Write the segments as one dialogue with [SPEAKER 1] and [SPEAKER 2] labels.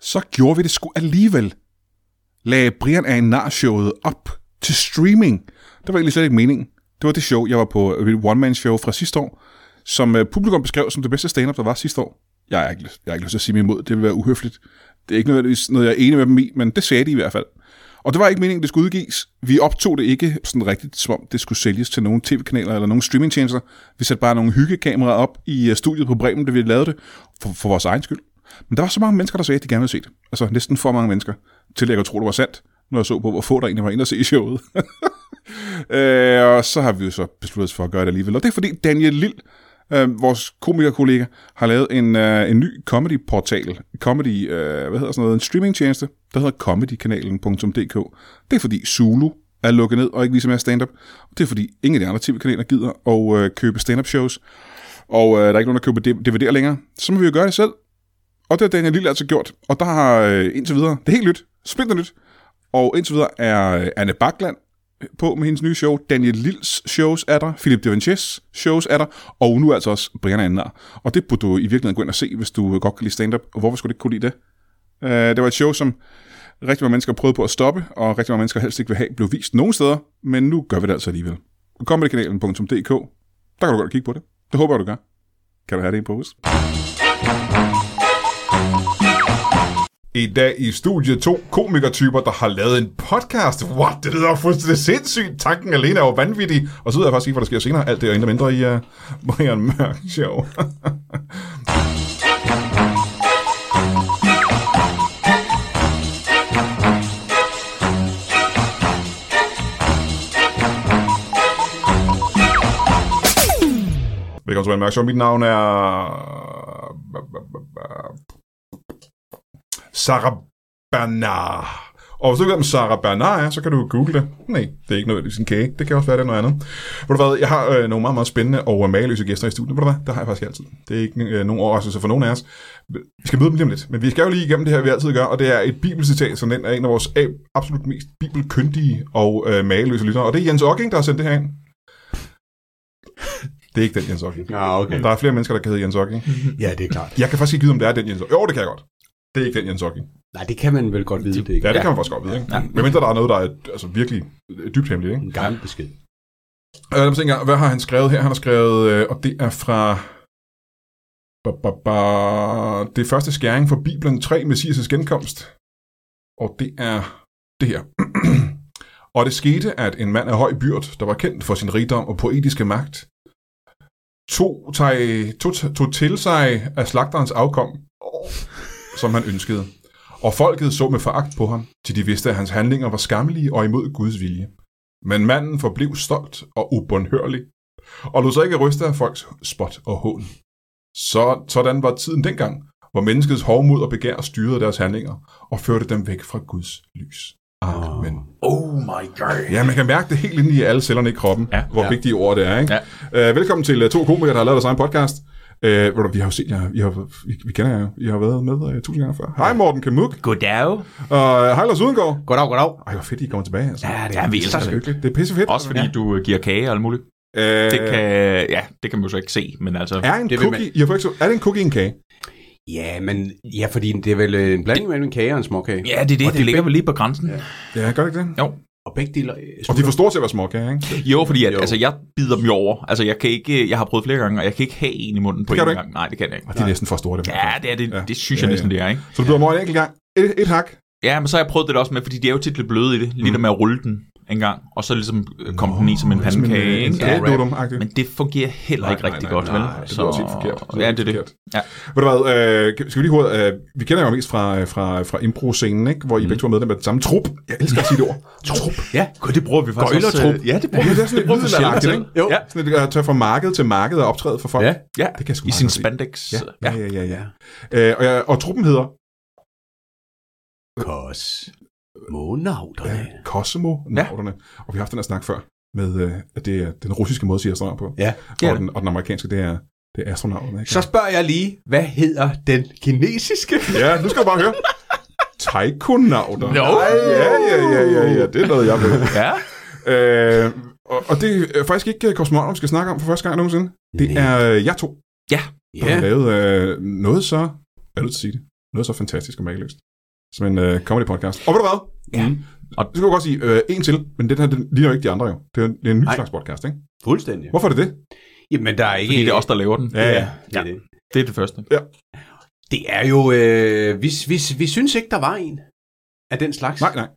[SPEAKER 1] Så gjorde vi det sgu alligevel. Lagde Brian af Nar-showet op til streaming. Det var egentlig slet ikke meningen. Det var det show, jeg var på, et one-man-show fra sidste år, som øh, publikum beskrev som det bedste stand-up, der var sidste år. Jeg har ikke, lyst- jeg har ikke lyst til at sige mig imod, det vil være uhøfligt. Det er ikke nødvendigvis noget, jeg er enig med dem i, men det sagde de i hvert fald. Og det var ikke meningen, det skulle udgives. Vi optog det ikke sådan rigtigt, som om det skulle sælges til nogle tv-kanaler eller nogle streamingtjenester. Vi satte bare nogle hyggekameraer op i øh, studiet på Bremen, da vi lavede det, for, for vores egen skyld. Men der var så mange mennesker, der sagde, at de gerne ville se det. Altså næsten for mange mennesker, til at jeg kunne tro, det var sandt, når jeg så på, hvor få der egentlig var inde og se i showet. Øh, og så har vi jo så besluttet os for at gøre det alligevel. Og det er fordi Daniel Lille, øh, vores komikerkollega, har lavet en, øh, en ny comedy-portal. Comedy, øh, hvad hedder sådan noget? En streamingtjeneste, der hedder comedykanalen.dk. Det er fordi Zulu er lukket ned og ikke viser mere stand-up. Og det er fordi ingen af de andre tv-kanaler gider at øh, købe stand-up shows. Og øh, der er ikke nogen, der køber DVD'er længere. Så må vi jo gøre det selv. Og det har Daniel Lille altså gjort. Og der har øh, indtil videre, det er helt nyt, splinter nyt. Og indtil videre er øh, Anne Bakland på med hendes nye show. Daniel Lills shows er der. Philip Devanches shows er der. Og nu altså også Brian Andner. Og det burde du i virkeligheden gå ind og se, hvis du øh, godt kan lide stand-up. Og hvorfor skulle du ikke kunne lide det? Øh, det var et show, som rigtig mange mennesker prøvede på at stoppe, og rigtig mange mennesker helst ikke vil have, blev vist nogen steder. Men nu gør vi det altså alligevel. Comedykanalen.dk Der kan du godt kigge på det. Det håber jeg, du gør. Kan du have det i en pose? I dag i studiet to komikertyper, der har lavet en podcast. What? Det lyder fuldstændig sindssygt. Tanken alene er jo vanvittig. Og så ved jeg faktisk ikke, hvad der sker senere. Alt det og endnu mindre i uh, Brian Mørk Show. Velkommen til Brian Mørk Show. Mit navn er... Sarah Bernard. Og hvis du ikke ved, om Sarah Bernard er, så kan du google det. Nej, det er ikke nødvendigvis en kage. Det kan også være, det er noget andet. Ved du hvad, jeg har øh, nogle meget, meget spændende og øh, mageløse gæster i studiet. Ved du hvad, det har jeg faktisk altid. Det er ikke øh, nogen overraskelse for nogen af os. Vi skal møde dem lige om lidt. Men vi skal jo lige igennem det her, vi altid gør. Og det er et bibelcitat, som den er en af vores ab- absolut mest bibelkyndige og øh, mageløse lyttere. Og det er Jens Ocking, der har sendt det her ind. Det er ikke den Jens Ocking.
[SPEAKER 2] Ja, okay.
[SPEAKER 1] Der er flere mennesker, der kan hedde Jens Ocking.
[SPEAKER 2] Ja, det er klart.
[SPEAKER 1] Jeg kan faktisk ikke vide, om det er den Jens Jo, det kan jeg godt. Det er ikke den Jens Ocking.
[SPEAKER 2] Nej, det kan man vel godt vide, det er ikke
[SPEAKER 1] Ja, det kan man faktisk godt vide, ikke? Ja. Men mindre der er noget, der er altså, virkelig dybt hemmeligt, ikke?
[SPEAKER 2] en gammel besked.
[SPEAKER 1] Øh, lad mig se engang, hvad har han skrevet her? Han har skrevet, øh, og det er fra... Ba, ba, ba, det er første skæring for Bibelen 3, Messias' genkomst. Og det er det her. og det skete, at en mand af høj byrd, der var kendt for sin rigdom og poetiske magt, tog, teg, tog, tog til sig af slagterens afkom, som han ønskede. Og folket så med foragt på ham, til de vidste, at hans handlinger var skammelige og imod Guds vilje. Men manden forblev stolt og ubundhørlig, og lod sig ikke ryste af folks spot og hån. Så, sådan var tiden dengang, hvor menneskets hovmod og begær styrede deres handlinger og førte dem væk fra Guds lys. Amen.
[SPEAKER 3] Oh my god.
[SPEAKER 1] Ja, man kan mærke det helt inde i alle cellerne i kroppen, ja, hvor ja. vigtige ord det er. Ikke? Ja. Øh, velkommen til øh, to komikere, der har lavet deres egen podcast. Øh, ved du, vi har jo set, jeg, I har, vi, vi kender jer jo. I har været med øh, tusind gange før. Hej Morten Kamuk,
[SPEAKER 3] Goddag.
[SPEAKER 1] og øh, hej Lars Udengård.
[SPEAKER 4] Goddag, goddag.
[SPEAKER 1] Ej, hvor fedt, I kommer tilbage. Altså.
[SPEAKER 3] Ja, det er vi elsker
[SPEAKER 1] det. er
[SPEAKER 3] det.
[SPEAKER 1] hyggeligt. Det er pissefedt.
[SPEAKER 3] Også fordi ja. du øh, giver kage og alt muligt.
[SPEAKER 1] Øh,
[SPEAKER 3] Det kan, ja, det kan man jo så ikke se, men altså...
[SPEAKER 1] Er en det
[SPEAKER 4] Det vil
[SPEAKER 1] cookie, I har fået ikke så- er det en cookie i en kage?
[SPEAKER 2] Ja, men ja, fordi det er vel øh, en blanding mellem en kage og en småkage.
[SPEAKER 3] Ja, det er det,
[SPEAKER 2] Og
[SPEAKER 3] det, det ligger vel lige på grænsen. Ja.
[SPEAKER 1] Ja, gør det ikke det?
[SPEAKER 3] Jo.
[SPEAKER 2] Og begge dele øh,
[SPEAKER 1] Og de er
[SPEAKER 2] smutter.
[SPEAKER 1] for store til at være småkager, ikke?
[SPEAKER 3] Jo, fordi at,
[SPEAKER 2] Jo.
[SPEAKER 3] Altså, jeg bider dem jo over. Altså, jeg, kan ikke, jeg har prøvet flere gange, og jeg kan ikke have en i munden på
[SPEAKER 1] Det kan
[SPEAKER 3] en
[SPEAKER 1] du ikke.
[SPEAKER 3] gang. Nej, det kan jeg ikke.
[SPEAKER 1] Og de er næsten for store, dem.
[SPEAKER 3] Ja, det, er det,
[SPEAKER 1] Ja.
[SPEAKER 3] ja. det synes
[SPEAKER 1] Ja,
[SPEAKER 3] jeg
[SPEAKER 1] ja.
[SPEAKER 3] næsten, det er, ikke?
[SPEAKER 1] Så du bliver over en enkelt gang. Et, et hak.
[SPEAKER 3] Ja, men så har jeg prøvet det også med, fordi de er jo tit lidt bløde i det. Lige mm. der med at rulle den en gang, og så ligesom øh, kom den i som en pandekage,
[SPEAKER 1] en
[SPEAKER 3] ikke?
[SPEAKER 2] kage.
[SPEAKER 3] Ja.
[SPEAKER 1] kagedodum-agtig.
[SPEAKER 3] Men det fungerer heller ikke rigtig godt, vel?
[SPEAKER 1] Nej, det lyder også helt forkert. lyder
[SPEAKER 3] Ja,
[SPEAKER 1] helt
[SPEAKER 3] det er det.
[SPEAKER 1] forkert.
[SPEAKER 3] Ja.
[SPEAKER 1] Ved du hvad, øh, skal vi lige hurtigt, øh, vi kender jer jo mest fra, øh, fra, fra impro-scenen, ikke?
[SPEAKER 3] Mm.
[SPEAKER 1] Hvor I begge to er medlem af den samme trup. Jeg elsker at sige det ord. Trup.
[SPEAKER 2] Ja,
[SPEAKER 3] Det bruger vi faktisk
[SPEAKER 2] Gøjlertrup.
[SPEAKER 3] øh, Ja, det bruger
[SPEAKER 1] Ja,
[SPEAKER 3] vi.
[SPEAKER 1] det er sådan
[SPEAKER 3] Det bruger
[SPEAKER 1] lidt
[SPEAKER 3] vi sjældent
[SPEAKER 1] middelalderagtigt,
[SPEAKER 3] til.
[SPEAKER 1] ikke?
[SPEAKER 2] Jo.
[SPEAKER 3] Ja,
[SPEAKER 1] Sådan at øh, tage fra marked til marked og optræde for folk.
[SPEAKER 2] Ja.
[SPEAKER 3] ja.
[SPEAKER 1] Det kan jeg sgu
[SPEAKER 3] I
[SPEAKER 1] meget
[SPEAKER 3] sin
[SPEAKER 1] godt lide.
[SPEAKER 3] spandex.
[SPEAKER 1] Ja, ja, ja, ja. ja.
[SPEAKER 2] Ja.
[SPEAKER 1] Øh, og, jeg- og truppen hedder
[SPEAKER 2] kos. Måneauterne.
[SPEAKER 1] Ja, Cosmo, navnerne. Ja. Og vi har haft den her snak før med, øh, at det er den russiske måde at sige astronaut på.
[SPEAKER 2] Ja.
[SPEAKER 3] det er
[SPEAKER 1] og, den, og den amerikanske, det er, det er astronauten. Ikke?
[SPEAKER 2] Så spørger jeg lige, hvad hedder den kinesiske?
[SPEAKER 1] Ja, nu skal du bare høre. Taikonauter.
[SPEAKER 3] Nå.
[SPEAKER 1] Ja, ja, ja, ja, ja, det er noget, jeg ved.
[SPEAKER 3] Ja.
[SPEAKER 1] øh, og, og det er faktisk ikke øh, kosmonauter, vi skal snakke om for første gang nogensinde. Det
[SPEAKER 2] Nej.
[SPEAKER 1] er øh, jer to, der
[SPEAKER 2] Ja,
[SPEAKER 1] har lavet øh, noget så, jeg er nødt til at sige det, noget så fantastisk og mageløst. som en øh, comedy podcast. Og ved du hvad? Ja. Og det skal jeg godt sige, øh, en til, men den her, den ligner jo ikke de andre jo. Det er, det er en ny
[SPEAKER 2] Nej.
[SPEAKER 1] slags podcast, ikke?
[SPEAKER 2] Fuldstændig.
[SPEAKER 1] Hvorfor er det det?
[SPEAKER 2] Jamen, der er ikke...
[SPEAKER 3] Fordi det er os, der laver den.
[SPEAKER 1] Ja, ja.
[SPEAKER 2] det, er det.
[SPEAKER 3] Det er det første.
[SPEAKER 2] det er jo... Øh, vi, vi, vi synes ikke, der var en af den slags.
[SPEAKER 1] Nej, nej.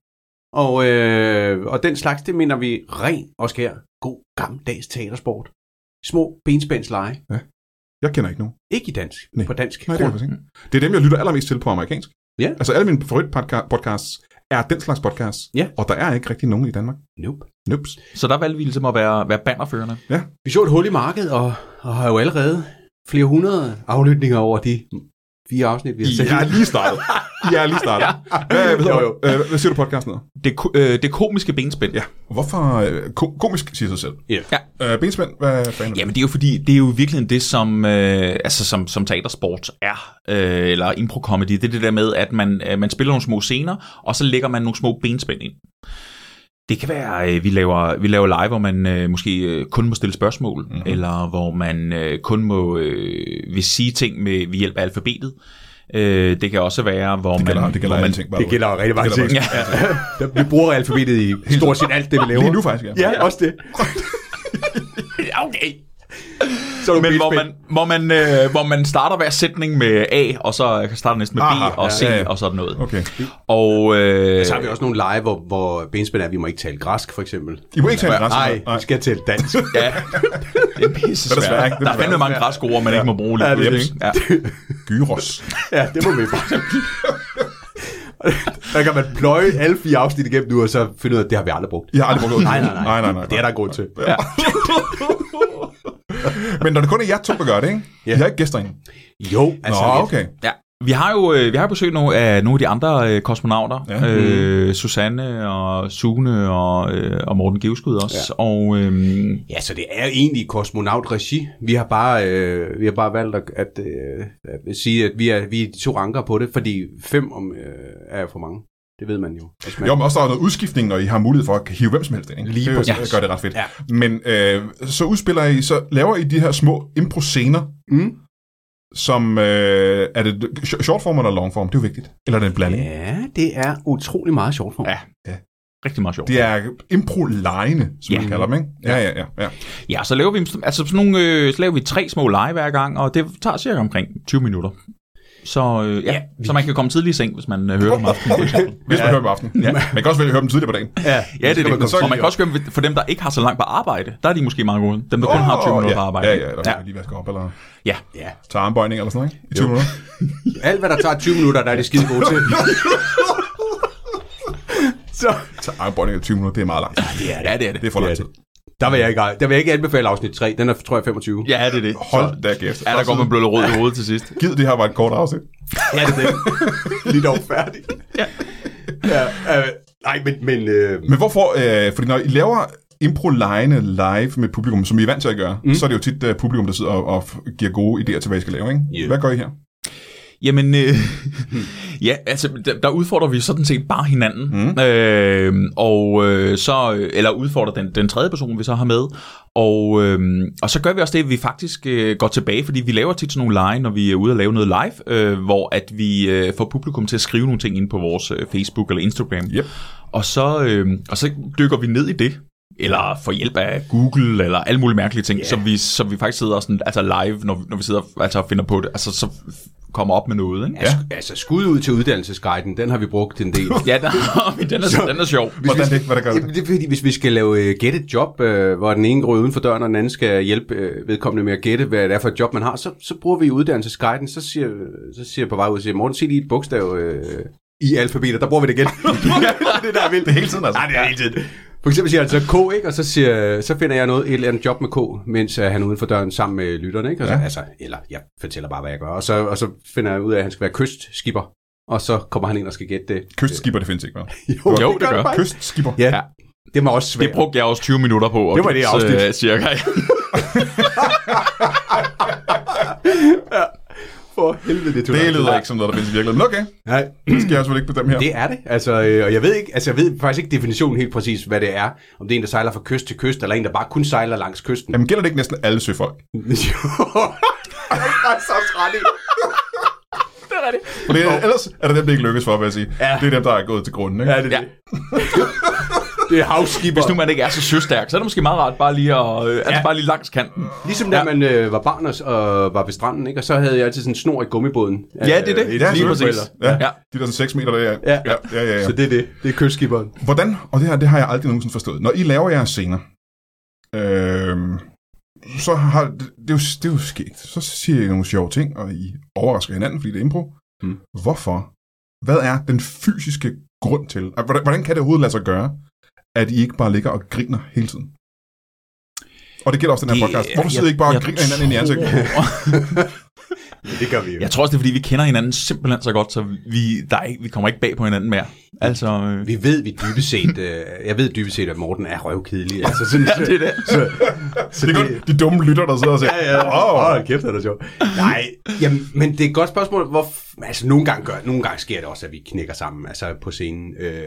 [SPEAKER 2] Og, øh, og den slags, det minder vi ren og skær. God gammeldags teatersport. Små benspændsleje.
[SPEAKER 1] Jeg kender ikke nogen.
[SPEAKER 2] Ikke i dansk.
[SPEAKER 1] Nej.
[SPEAKER 2] På dansk.
[SPEAKER 1] Nej, det, er,
[SPEAKER 2] grund.
[SPEAKER 1] faktisk ikke. det er dem, jeg lytter allermest til på amerikansk.
[SPEAKER 2] Ja.
[SPEAKER 1] Altså alle mine favoritpodcasts er den slags podcasts.
[SPEAKER 2] Ja.
[SPEAKER 1] Og der er ikke rigtig nogen i Danmark.
[SPEAKER 2] Nope.
[SPEAKER 1] Nups.
[SPEAKER 3] Så der valgte vi ligesom at være, være bannerførende.
[SPEAKER 2] Vi så et hul i markedet, og, og har jo allerede flere hundrede aflytninger over de fire afsnit, vi har sendt.
[SPEAKER 1] Jeg er lige startet. Jeg er lige startet. ja. Hvad, hvad,
[SPEAKER 2] Jo,
[SPEAKER 1] hvad,
[SPEAKER 2] jo.
[SPEAKER 1] hvad, hvad siger du podcasten hedder?
[SPEAKER 3] Det, ko- øh, det komiske benspænd.
[SPEAKER 1] Ja. Hvorfor øh, ko- komisk siger sig selv?
[SPEAKER 2] Ja.
[SPEAKER 3] Ja.
[SPEAKER 1] Øh, benspænd, hvad fanden?
[SPEAKER 3] Jamen det er jo fordi, det er jo virkelig det, som, øh, altså, som, som teatersport er, øh, eller impro-comedy. Det er det der med, at man, øh, man spiller nogle små scener, og så lægger man nogle små benspænd ind. Det kan være, øh, vi laver, vi laver live, hvor man øh, måske øh, kun må stille spørgsmål,
[SPEAKER 1] Mhm.
[SPEAKER 3] mm-hmm. eller hvor man øh, kun må øh, vil sige ting med, ved hjælp af alfabetet. Øh, det kan også være, hvor
[SPEAKER 1] Det gælder,
[SPEAKER 3] man...
[SPEAKER 1] det gælder
[SPEAKER 3] hvor man,
[SPEAKER 1] alle ting. by
[SPEAKER 2] Det
[SPEAKER 1] the way.
[SPEAKER 2] gælder jo rigtig mange ting.
[SPEAKER 1] gælder
[SPEAKER 3] Ja.
[SPEAKER 2] Vi bruger alfabetet i stort set alt det, vi laver.
[SPEAKER 1] Lige nu faktisk, ja.
[SPEAKER 2] Ja, også det.
[SPEAKER 3] Okay.
[SPEAKER 2] Så er du
[SPEAKER 3] Men hvor
[SPEAKER 2] benspænd.
[SPEAKER 3] man, hvor, man, øh, hvor man starter hver sætning med A, og så kan starte næsten med B
[SPEAKER 1] Aha,
[SPEAKER 3] og
[SPEAKER 1] ja,
[SPEAKER 3] C
[SPEAKER 1] ja, ja.
[SPEAKER 3] og sådan noget.
[SPEAKER 1] Okay.
[SPEAKER 3] Og øh,
[SPEAKER 2] Så har vi også nogle lege, hvor, hvor benspænd er, at vi må ikke tale græsk, for eksempel.
[SPEAKER 1] I må ikke tale græsk.
[SPEAKER 2] Nej, vi skal tale dansk.
[SPEAKER 3] ja, det er pisse
[SPEAKER 1] Det er svært,
[SPEAKER 3] svært.
[SPEAKER 1] ikke? Det er
[SPEAKER 3] Der er fandme
[SPEAKER 1] svært.
[SPEAKER 3] mange græske ord, man ikke må bruge lige
[SPEAKER 2] Ja, det er
[SPEAKER 3] pludselig, ikke? Ja.
[SPEAKER 1] Gyros.
[SPEAKER 2] ja, det må vi bare. Der kan man pløje alle fire afsnit igennem nu, og så finde ud af, at det har vi aldrig brugt.
[SPEAKER 1] Jeg har aldrig brugt ordet
[SPEAKER 2] Nej, nej,
[SPEAKER 1] gyros.
[SPEAKER 2] nej.
[SPEAKER 1] nej, nej, nej.
[SPEAKER 2] Det er der en grund til.
[SPEAKER 1] Ja. Men når det kun er jer to, der gør det, ikke?
[SPEAKER 2] Ja.
[SPEAKER 1] Jeg er ikke gæster inde.
[SPEAKER 2] Jo,
[SPEAKER 1] Nå,
[SPEAKER 2] altså lidt.
[SPEAKER 1] okay.
[SPEAKER 3] Ja. Vi har jo øh, vi har besøgt nogle af nogle af de andre øh, kosmonauter.
[SPEAKER 1] Ja.
[SPEAKER 3] Ja. Øh, Susanne og Sune og, øh, og Morten Givskud også. Ja. Og øh,
[SPEAKER 2] Ja, så det er egentlig kosmonautregi. Vi har bare, øh, vi har bare valgt at, at, øh, at sige, at vi er, vi er de to ranker på det, fordi fem om, øh, er for mange. Det ved man jo. Hvis man,
[SPEAKER 1] Jo, men også der er noget udskiftning, når I har mulighed for at hive hvem som helst ind. Ikke?
[SPEAKER 2] Lige
[SPEAKER 1] det
[SPEAKER 2] præcis.
[SPEAKER 1] gør det ret fedt.
[SPEAKER 2] Ja.
[SPEAKER 1] Men øh, så udspiller I, så laver I de her små impro-scener,
[SPEAKER 2] Mm.
[SPEAKER 1] som, øh, er det sh- shortform eller longform? Det er jo vigtigt. Eller er det en blanding? Yeah.
[SPEAKER 2] Ja, det er utrolig meget sjovt for mig.
[SPEAKER 1] Ja.
[SPEAKER 3] rigtig meget sjovt.
[SPEAKER 1] Det er impro-lejene, som yeah.
[SPEAKER 3] Ja.
[SPEAKER 1] man kalder dem, ikke? Ja, ja, ja. ja.
[SPEAKER 3] Ja, så laver vi, altså sådan nogle, øh, så laver vi tre små lege hver gang, og det tager cirka omkring 20 minutter. Så, øh, ja,
[SPEAKER 2] Ja,
[SPEAKER 3] ja,
[SPEAKER 2] vi-
[SPEAKER 3] så man kan komme tidlig i seng, hvis man øh, hører om aftenen.
[SPEAKER 1] Hvis man hører dem om aftenen. Ja. Man kan også vælge at høre dem tidligere på dagen.
[SPEAKER 2] Ja,
[SPEAKER 3] Ja, det
[SPEAKER 1] man komme
[SPEAKER 3] er det. Og man
[SPEAKER 1] tidligere.
[SPEAKER 3] kan også gøre dem for dem, der ikke har så langt på arbejde. Der er de måske meget gode. Dem, der kun har 20
[SPEAKER 1] Åh,
[SPEAKER 3] minutter
[SPEAKER 1] ja.
[SPEAKER 3] på arbejde.
[SPEAKER 1] Ja, ja, eller
[SPEAKER 3] ja.
[SPEAKER 1] ja. lige vaske op, eller
[SPEAKER 3] ja.
[SPEAKER 2] ja.
[SPEAKER 1] tage armbøjning eller sådan noget, ikke? I 20 minutter.
[SPEAKER 2] Alt, hvad der tager 20 minutter, der er det skide gode til. så
[SPEAKER 1] Tage armbøjning i 20 minutter, det er meget langt.
[SPEAKER 2] det er
[SPEAKER 3] ja, det er det.
[SPEAKER 1] Det er for lang
[SPEAKER 2] Det er
[SPEAKER 1] tid.
[SPEAKER 2] Der vil jeg ikke, der vil jeg ikke anbefale afsnit 3. Den er, tror jeg, 25.
[SPEAKER 3] Ja, det er det.
[SPEAKER 1] Hold da kæft.
[SPEAKER 3] Ja, der går man blå rød i hovedet til sidst.
[SPEAKER 1] Gid, det her var et kort afsnit.
[SPEAKER 2] Ja, det er det. Lige dog færdig.
[SPEAKER 3] Ja.
[SPEAKER 2] ja øh, nej, men... men øh,
[SPEAKER 1] Men hvorfor? Øh, fordi når I laver impro-lejene live med publikum, som I er vant til at gøre, mm. så er det jo tit uh, publikum, der sidder og, og f- giver gode idéer til, hvad I skal lave, ikke?
[SPEAKER 2] Yeah.
[SPEAKER 1] Hvad gør I her?
[SPEAKER 3] Jamen, øh, ja, altså, der, der udfordrer vi sådan set bare hinanden. Mm. Øh, og øh, så, øh, eller udfordrer den, den tredje person, vi så har med. Og, øh, og så gør vi også det, at vi faktisk øh, går tilbage, fordi vi laver tit sådan nogle lege, når vi er ude og lave noget live, øh, hvor at vi øh, får publikum til at skrive nogle ting ind på vores øh, Facebook eller Instagram.
[SPEAKER 1] Yep.
[SPEAKER 3] Og så, øh, og så dykker vi ned i det. Eller for hjælp af Google, eller alle mulige mærkelige ting, yeah. som, vi, som vi faktisk sidder sådan, altså live, når vi, når vi sidder altså og finder på det. Altså, så f- kommer op med noget, ikke?
[SPEAKER 2] ja. Altså, skud ud til uddannelsesguiden, den har vi brugt en del.
[SPEAKER 3] Ja, der, Altså, den, er, den er sjov.
[SPEAKER 1] Hvordan det? Hvad der gør det?
[SPEAKER 2] Jamen, det er fordi, hvis vi skal lave uh, get et job, uh, hvor den ene går uden for døren, og den anden skal hjælpe uh, vedkommende med at gætte, hvad det er for et job, man har, så, så bruger vi uddannelsesguiden, så siger, så siger jeg på vej ud, siger, Morten, sig lige et bogstav uh, i alfabetet, der bruger vi det igen. ja, det er der, vil.
[SPEAKER 1] Det er hele tiden, altså.
[SPEAKER 2] Nej, det er hele tiden. For eksempel siger han så K, ikke? og så, siger, så finder jeg noget, et eller andet job med K, mens øh, han er uden for døren sammen med lytterne. Ikke? Og så, ja. altså, eller jeg fortæller bare, hvad jeg gør. Og så, og så finder jeg ud af, at han skal være kystskipper. Og så kommer han ind og skal gætte det.
[SPEAKER 1] Kystskipper, det findes ikke, hva'?
[SPEAKER 2] Jo,
[SPEAKER 3] Jo, det gør.
[SPEAKER 2] faktisk.
[SPEAKER 1] Kystskipper.
[SPEAKER 2] Ja. ja. Det var også svært.
[SPEAKER 3] Det brugte jeg også 20 minutter på. og
[SPEAKER 2] Det var det
[SPEAKER 3] så,
[SPEAKER 2] afsnit.
[SPEAKER 3] øh, Cirka.
[SPEAKER 2] for helvede, det tog
[SPEAKER 1] Det
[SPEAKER 2] lang tid.
[SPEAKER 1] lyder ikke som noget, der findes i virkeligheden. Men okay,
[SPEAKER 2] Nej,
[SPEAKER 1] det skal jeg selvfølgelig ikke på dem her.
[SPEAKER 2] det er det. Altså, øh, og jeg ved, ikke, altså, jeg ved faktisk ikke definitionen helt præcis, hvad det er. Om det er en, der sejler fra kyst til kyst, eller en, der bare kun sejler langs kysten.
[SPEAKER 1] Jamen gælder det ikke næsten alle søfolk?
[SPEAKER 2] Jo. det er så træt i.
[SPEAKER 5] er rigtigt.
[SPEAKER 1] For det, er- ellers er det dem, det ikke lykkes for, vil jeg sige.
[SPEAKER 2] Ja.
[SPEAKER 1] Ja. Det er dem, der er gået til grunden. Ikke?
[SPEAKER 2] Ja, det,
[SPEAKER 3] Ja.
[SPEAKER 2] ja. det er havskibber.
[SPEAKER 3] Hvis nu man ikke er så søstærk, så er det måske meget rart bare lige at, øh, altså
[SPEAKER 2] Ja.
[SPEAKER 3] bare lige langs kanten.
[SPEAKER 2] Ligesom da man øh, var barn og, s- og var ved stranden, ikke? og så havde jeg altid sådan en snor i gummibåden.
[SPEAKER 3] Ja, det er
[SPEAKER 2] Øh,
[SPEAKER 3] det.
[SPEAKER 2] et
[SPEAKER 1] Ja, selvfølgelig.
[SPEAKER 2] lille forældre.
[SPEAKER 1] Ja.
[SPEAKER 3] Ja.
[SPEAKER 1] ja. De der sådan 6 meter der.
[SPEAKER 2] Ja.
[SPEAKER 1] ja, ja, ja, ja.
[SPEAKER 2] Så det er det. Det er kystskiberen.
[SPEAKER 1] Hvordan, og det her det har jeg aldrig nogensinde forstået, når I laver jeres scener, øh, så har, det, det, er jo, det er jo skægt. Så siger I nogle sjove ting, og I overrasker hinanden, fordi det er impro.
[SPEAKER 2] Mm.
[SPEAKER 1] Hvorfor? Hvad er den fysiske grund til? og Hvordan, hvordan kan det overhovedet lade sig gøre, at I ikke bare ligger og griner hele tiden? Og det gælder også den her
[SPEAKER 3] Det-
[SPEAKER 1] podcast. Hvorfor
[SPEAKER 3] jeg-
[SPEAKER 1] sidder I ikke bare og
[SPEAKER 3] jeg
[SPEAKER 1] griner hinanden ind i ansigtet?
[SPEAKER 2] Det gør vi jo.
[SPEAKER 3] Jeg tror også, det er, fordi vi kender hinanden simpelthen så godt, så vi, der er ikke, vi kommer ikke bag på hinanden mere. Altså, øh,
[SPEAKER 2] Vi ved, vi dybest set, øh, jeg ved dybest set, at Morten er røvkedelig. Altså, sådan,
[SPEAKER 3] ja, det er det.
[SPEAKER 2] Så, så
[SPEAKER 1] Det er kun de dumme lytter, der sidder og siger,
[SPEAKER 2] Ja, ja.
[SPEAKER 1] Åh,
[SPEAKER 2] Åh, oh, kæft, det er sjovt. Nej, jamen, men det er et godt spørgsmål. Hvor, altså, nogle gange, gør, nogle gange sker det også, at vi knækker sammen altså, på scenen. Øh,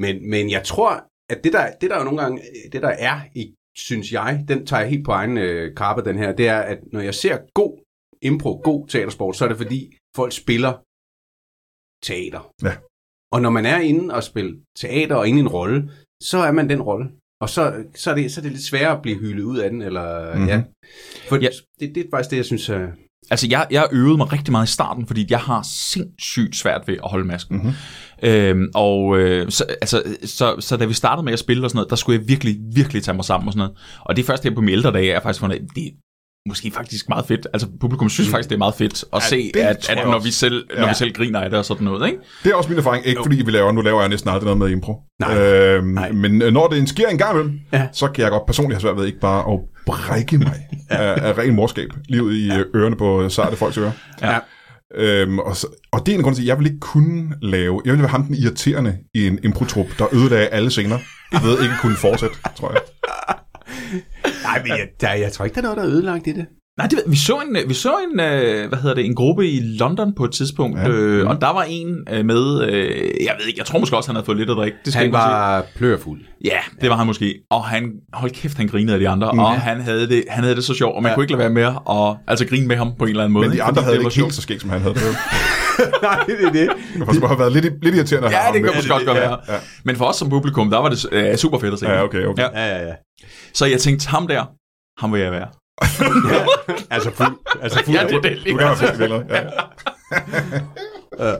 [SPEAKER 2] men, men jeg tror, at det der, det der jo nogle gange, øh, det der er, i, synes jeg, den tager jeg helt på egen øh, karpe, den her, det er, at når jeg ser god impro, god teatersport, så er det fordi, folk spiller teater.
[SPEAKER 1] Ja.
[SPEAKER 2] Og når man er inde og spille teater og inde i en rolle, så er man den rolle. Og så, så, er det, så er det lidt sværere at blive hyldet ud af den, eller mm-hmm.
[SPEAKER 1] Mhm.
[SPEAKER 2] ja. For
[SPEAKER 3] Ja.
[SPEAKER 2] ja. det, det er faktisk det, jeg synes øh, er...
[SPEAKER 3] Altså, jeg, jeg øvede mig rigtig meget i starten, fordi jeg har sindssygt svært ved at holde masken.
[SPEAKER 1] Mhm.
[SPEAKER 3] Øhm, og øh, så, altså, så, så da vi startede med at spille og sådan noget, der skulle jeg virkelig, virkelig tage mig sammen og sådan noget. Og det er først her på mine ældre dage, jeg har faktisk fundet, ud af, det er måske faktisk meget fedt. Altså, publikum synes faktisk, det er meget fedt at ja, se,
[SPEAKER 1] det
[SPEAKER 3] at,
[SPEAKER 1] tror
[SPEAKER 3] at
[SPEAKER 1] jeg
[SPEAKER 3] når,
[SPEAKER 1] også.
[SPEAKER 3] vi selv, når vi selv griner af det og sådan noget, ikke?
[SPEAKER 1] Det er også min erfaring, ikke fordi vi laver, nu laver jeg næsten aldrig noget med impro.
[SPEAKER 2] Nej.
[SPEAKER 1] Øhm,
[SPEAKER 2] Nej.
[SPEAKER 1] Men øh, når det sker en gang imellem,
[SPEAKER 2] Ja.
[SPEAKER 1] ja. så kan jeg godt personligt have svært ved ikke bare at brække mig af, af ren morskab, lige ud i ja. ørerne på øh, sarte folks ører.
[SPEAKER 3] Ja.
[SPEAKER 1] Øhm, og, så, og det er en grund til, at jeg vil ikke kunne lave, jeg ville være ham den irriterende i en improtrup, der ødelagde alle scener, ved ikke at kunne fortsætte, tror jeg.
[SPEAKER 2] Nej, men jeg, der, jeg tror ikke, der er noget, der er ødelagt i det.
[SPEAKER 3] Nej, det, ved- vi så en, øh, vi så en, øh, hvad hedder det, en gruppe i London på et tidspunkt, ja.
[SPEAKER 1] Ja.
[SPEAKER 3] øh, og der var en øh, med, øh, jeg ved ikke, jeg tror måske også, han havde fået lidt at drikke. Det skal jeg
[SPEAKER 2] Han
[SPEAKER 3] ikke kunne sige.
[SPEAKER 2] var plørfuld.
[SPEAKER 3] Ja, det var han måske. Og han, hold kæft, han grinede af de
[SPEAKER 1] Mm.
[SPEAKER 3] andre, og han havde det, han havde det så sjovt, og man ja. kunne ikke lade være med at altså, grine med ham på en eller anden måde.
[SPEAKER 1] Men de
[SPEAKER 3] ikke?
[SPEAKER 1] andre
[SPEAKER 3] Fordi
[SPEAKER 1] havde det
[SPEAKER 3] var
[SPEAKER 1] ikke helt
[SPEAKER 3] sjovt.
[SPEAKER 1] så skægt, som han havde. Det
[SPEAKER 2] Nej, det er det.
[SPEAKER 1] har faktisk bare været lidt, lidt irriterende. at have
[SPEAKER 3] Ja,
[SPEAKER 1] ham
[SPEAKER 3] det kan
[SPEAKER 1] med.
[SPEAKER 3] måske godt godt være.
[SPEAKER 1] ja.
[SPEAKER 3] Men for os som publikum, der var det øh, super fedt at se.
[SPEAKER 1] Ja, okay, okay.
[SPEAKER 3] Ja.
[SPEAKER 1] Ja.
[SPEAKER 2] Ja, ja, ja.
[SPEAKER 3] Så jeg tænkte, ham der, ham vil jeg være.
[SPEAKER 2] Altså fuld. Altså fuld.
[SPEAKER 3] Ja, det er det.
[SPEAKER 1] Du
[SPEAKER 3] Lige.
[SPEAKER 1] kan have fået billeder. Ja. ja.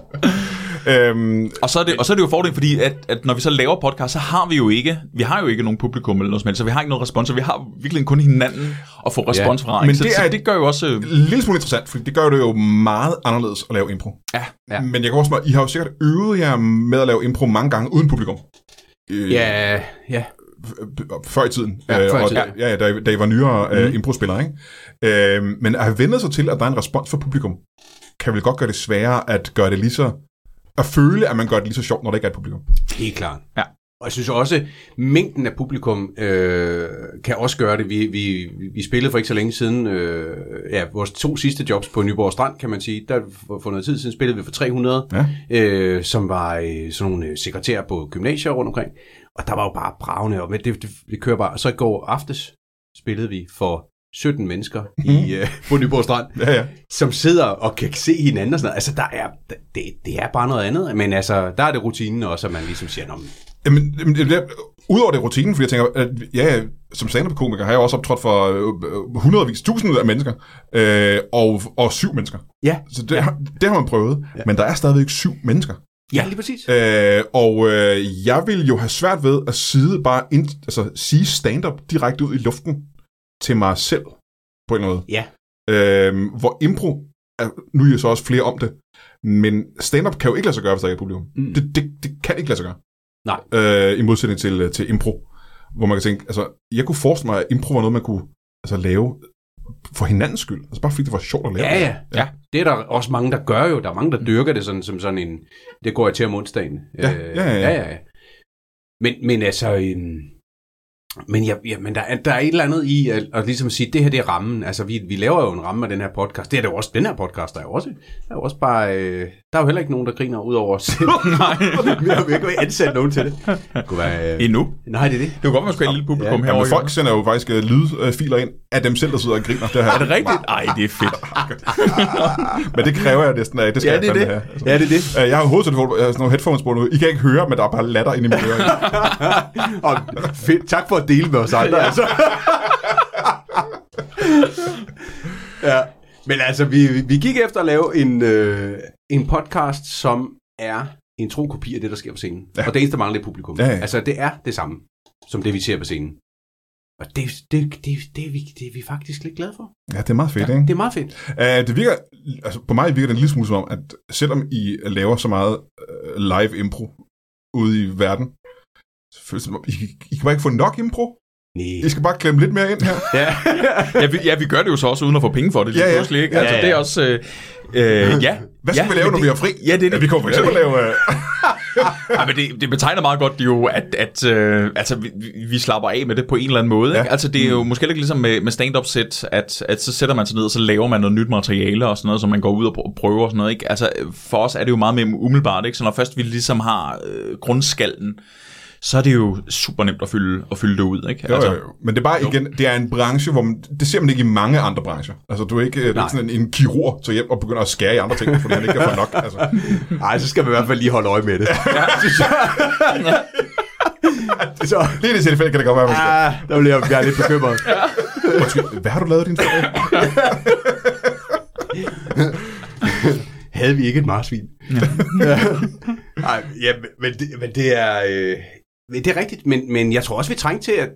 [SPEAKER 1] øhm,
[SPEAKER 3] Og så er det, og så er det jo fordelen, fordi at, at når vi så laver podcast, så har vi jo ikke, vi har jo ikke nogen publikum eller noget som helst, så vi har ikke noget respons, så vi har virkelig kun hinanden at få respons fra. ikke?
[SPEAKER 1] men
[SPEAKER 3] så,
[SPEAKER 1] det
[SPEAKER 3] så
[SPEAKER 1] er-
[SPEAKER 3] det gør jo også... øh,
[SPEAKER 1] en lille smule interessant, fordi det gør det jo meget anderledes at lave impro.
[SPEAKER 3] Ja,
[SPEAKER 2] ja.
[SPEAKER 1] Men jeg kan også mig, I har jo sikkert øvet jer med at lave impro mange gange uden publikum. Øh,
[SPEAKER 2] Ja, ja.
[SPEAKER 1] f- øh, Før i tiden.
[SPEAKER 2] Ja,
[SPEAKER 1] Øh,
[SPEAKER 2] før i
[SPEAKER 1] og-
[SPEAKER 2] tiden, Mhm.
[SPEAKER 1] Ja, ja, da, I- da I var nyere mm. uh, improspillere, ikke? Øh, men at have vendt sig til, at der er en respons fra publikum, kan vel godt gøre det sværere at gøre det lige så... At føle, at man gør det lige så sjovt, når der ikke er et publikum.
[SPEAKER 2] Helt klart.
[SPEAKER 3] Ja.
[SPEAKER 2] Og jeg synes også, mængden af publikum øh, kan også gøre det. Vi, vi, vi spillede for ikke så længe siden, øh, ja, vores to sidste jobs på Nyborg Strand, kan man sige. Der for, for noget tid siden spillede vi for 300,
[SPEAKER 1] Ja.
[SPEAKER 2] øh, som var øh, sådan nogle øh, sekretærer på gymnasier rundt omkring. Og der var jo bare bravende, og men det, det, det kører bare. Og så i går aftes spillede vi for 17 mennesker i, øh, på Nyborg Strand
[SPEAKER 1] Ja, ja.
[SPEAKER 2] som sidder og kan se hinanden og sådan noget. Altså, der er, det, det er bare noget andet. Men altså, der er det rutinen også, at man ligesom siger, Nå, men
[SPEAKER 1] Jamen, jamen, det er- udover det rutinen, fordi jeg tænker, at ja, som stand-up-komiker har jeg også optrådt for øh, øh, hundredvis, tusinder af mennesker, øh, og, og syv mennesker.
[SPEAKER 2] ja,
[SPEAKER 1] Så det, ja. det har man prøvet, ja. men der er stadigvæk syv mennesker.
[SPEAKER 2] ja, lige præcis.
[SPEAKER 1] Øh, og øh, jeg vil jo have svært ved at side bare ind, altså, sige stand-up direkte ud i luften til mig selv, på en eller anden måde.
[SPEAKER 2] Ja.
[SPEAKER 1] Øh, hvor impro, er, nu er jeg så også flere om det, men stand-up kan jo ikke lade sig gøre, hvis der ikke er et publikum.
[SPEAKER 2] Mm.
[SPEAKER 1] Mm. Det, det, det kan ikke lade sig gøre.
[SPEAKER 2] Nej.
[SPEAKER 1] Øh, I modsætning til, øh, til impro, hvor man kan tænke, altså, jeg kunne forestille mig, at impro var noget, man kunne altså, lave for hinandens skyld. Altså bare fordi det var sjovt at lave.
[SPEAKER 2] Øh, Ja, ja,
[SPEAKER 3] Ja.
[SPEAKER 2] ja. Det er der også mange, der gør jo. Der er mange, der dyrker det sådan, som sådan en... Det går jeg til om onsdagen. Øh,
[SPEAKER 1] Ja, ja, ja, ja.
[SPEAKER 2] ja, ja, ja. Men, men altså... øhm, Men, ja, ja, men der, er, der er et eller andet i at, at ligesom sige, det her det er rammen. Altså, vi, vi laver jo en ramme af den her podcast. Det er det jo også. Den her podcast, der er jo også, der er jo også bare... Øh, der er jo heller ikke nogen, der griner ud over os selv.
[SPEAKER 3] Nej,
[SPEAKER 2] vi har jo ikke ansat nogen til det. det kunne være, øh,
[SPEAKER 3] endnu.
[SPEAKER 2] nej, det er det.
[SPEAKER 3] Det kunne godt, man skulle have et lille publikum
[SPEAKER 2] Ja,
[SPEAKER 3] ja,
[SPEAKER 1] Jamen,
[SPEAKER 3] herovre.
[SPEAKER 1] folk sender jo faktisk øh, lydfiler ind af dem selv, der sidder og griner. Det her.
[SPEAKER 3] Er det rigtigt? Ej, det er fedt.
[SPEAKER 1] Men det kræver jeg næsten af. Det skal
[SPEAKER 2] Ja,
[SPEAKER 1] jeg
[SPEAKER 2] det er
[SPEAKER 1] fandme
[SPEAKER 2] det.
[SPEAKER 1] have.
[SPEAKER 2] Ja, det er det.
[SPEAKER 1] Øh, Jeg har hovedtelefon, jeg har sådan nogle headphones på nu. I kan ikke høre, men der er bare latter ind i mine ører.
[SPEAKER 2] Og fedt. Tak for at dele med os andre, altså. ja. Men altså, vi, vi gik efter at lave en, øh, en podcast, som er en tro kopi af det, der sker på scenen. Ja. Og det eneste, der mangler, det er publikum.
[SPEAKER 1] Ja, ja.
[SPEAKER 2] Altså, det er det samme, som det, vi ser på scenen. Og det, det, det, det, er, vi, det er vi faktisk lidt glade for.
[SPEAKER 1] Ja, det er meget fedt, ikke?
[SPEAKER 2] Det er meget fedt.
[SPEAKER 1] Uh, det virker, altså på mig virker det en lille smule som om, at selvom I laver så meget uh, live impro ude i verden, så føles det som om, I, I kan bare ikke få nok impro. I
[SPEAKER 2] Nej.
[SPEAKER 1] skal bare klemme lidt mere ind her.
[SPEAKER 2] Ja.
[SPEAKER 3] Ja vi, ja, vi gør det jo så også uden at få penge for det lige
[SPEAKER 1] Ja,
[SPEAKER 3] ja,
[SPEAKER 1] ja.
[SPEAKER 3] ja. pludselig. Ikke?
[SPEAKER 1] Ja,
[SPEAKER 3] Altså,
[SPEAKER 2] ja.
[SPEAKER 3] det er også... Øh, øh, ja.
[SPEAKER 1] Hvad skal
[SPEAKER 3] ja,
[SPEAKER 1] vi lave,
[SPEAKER 3] men
[SPEAKER 1] når
[SPEAKER 3] det-
[SPEAKER 1] vi er fri?
[SPEAKER 3] Ja, det er det.
[SPEAKER 1] Ja, vi kommer for eksempel at lave... Uh,
[SPEAKER 3] Ja, men det, det betegner meget godt jo, at, at øh, altså, vi, vi- vi slapper af med det på en eller anden måde.
[SPEAKER 1] Ja. Mm.
[SPEAKER 3] Ja. Ikke? Altså, det er jo måske ikke ligesom med, med stand-up-sæt, at, at så sætter man sig ned, og så laver man noget nyt materiale og sådan noget, som man går ud og pr- prøver og sådan noget. Ikke? Altså, for os er det jo meget mere umiddelbart. Ikke? Så når først vi ligesom har øh, grundskallen, så er det jo super nemt at fylde, at fylde det ud. Ikke? Altså,
[SPEAKER 1] jo, jo, jo. altså, Men det er bare igen, det er en branche, hvor man, det ser man ikke i mange andre brancher. Altså du er ikke, øh, det er ikke sådan en, en kirurg, der hjem og begynder at skære i andre ting, fordi han ikke kan få nok. Altså.
[SPEAKER 2] Ej, så skal man i hvert fald lige holde øje med det. Ja. så,
[SPEAKER 1] Lige i det tilfælde kan det godt være, man skal.
[SPEAKER 2] ah, der bliver jeg, jeg er lidt bekymret.
[SPEAKER 1] Undskyld, hvad har du lavet din ferie?
[SPEAKER 2] havde vi ikke et marsvin. Nej, ja, men- men, det, men det er... Øh, men det er rigtigt, men, men jeg tror også, vi trængte til at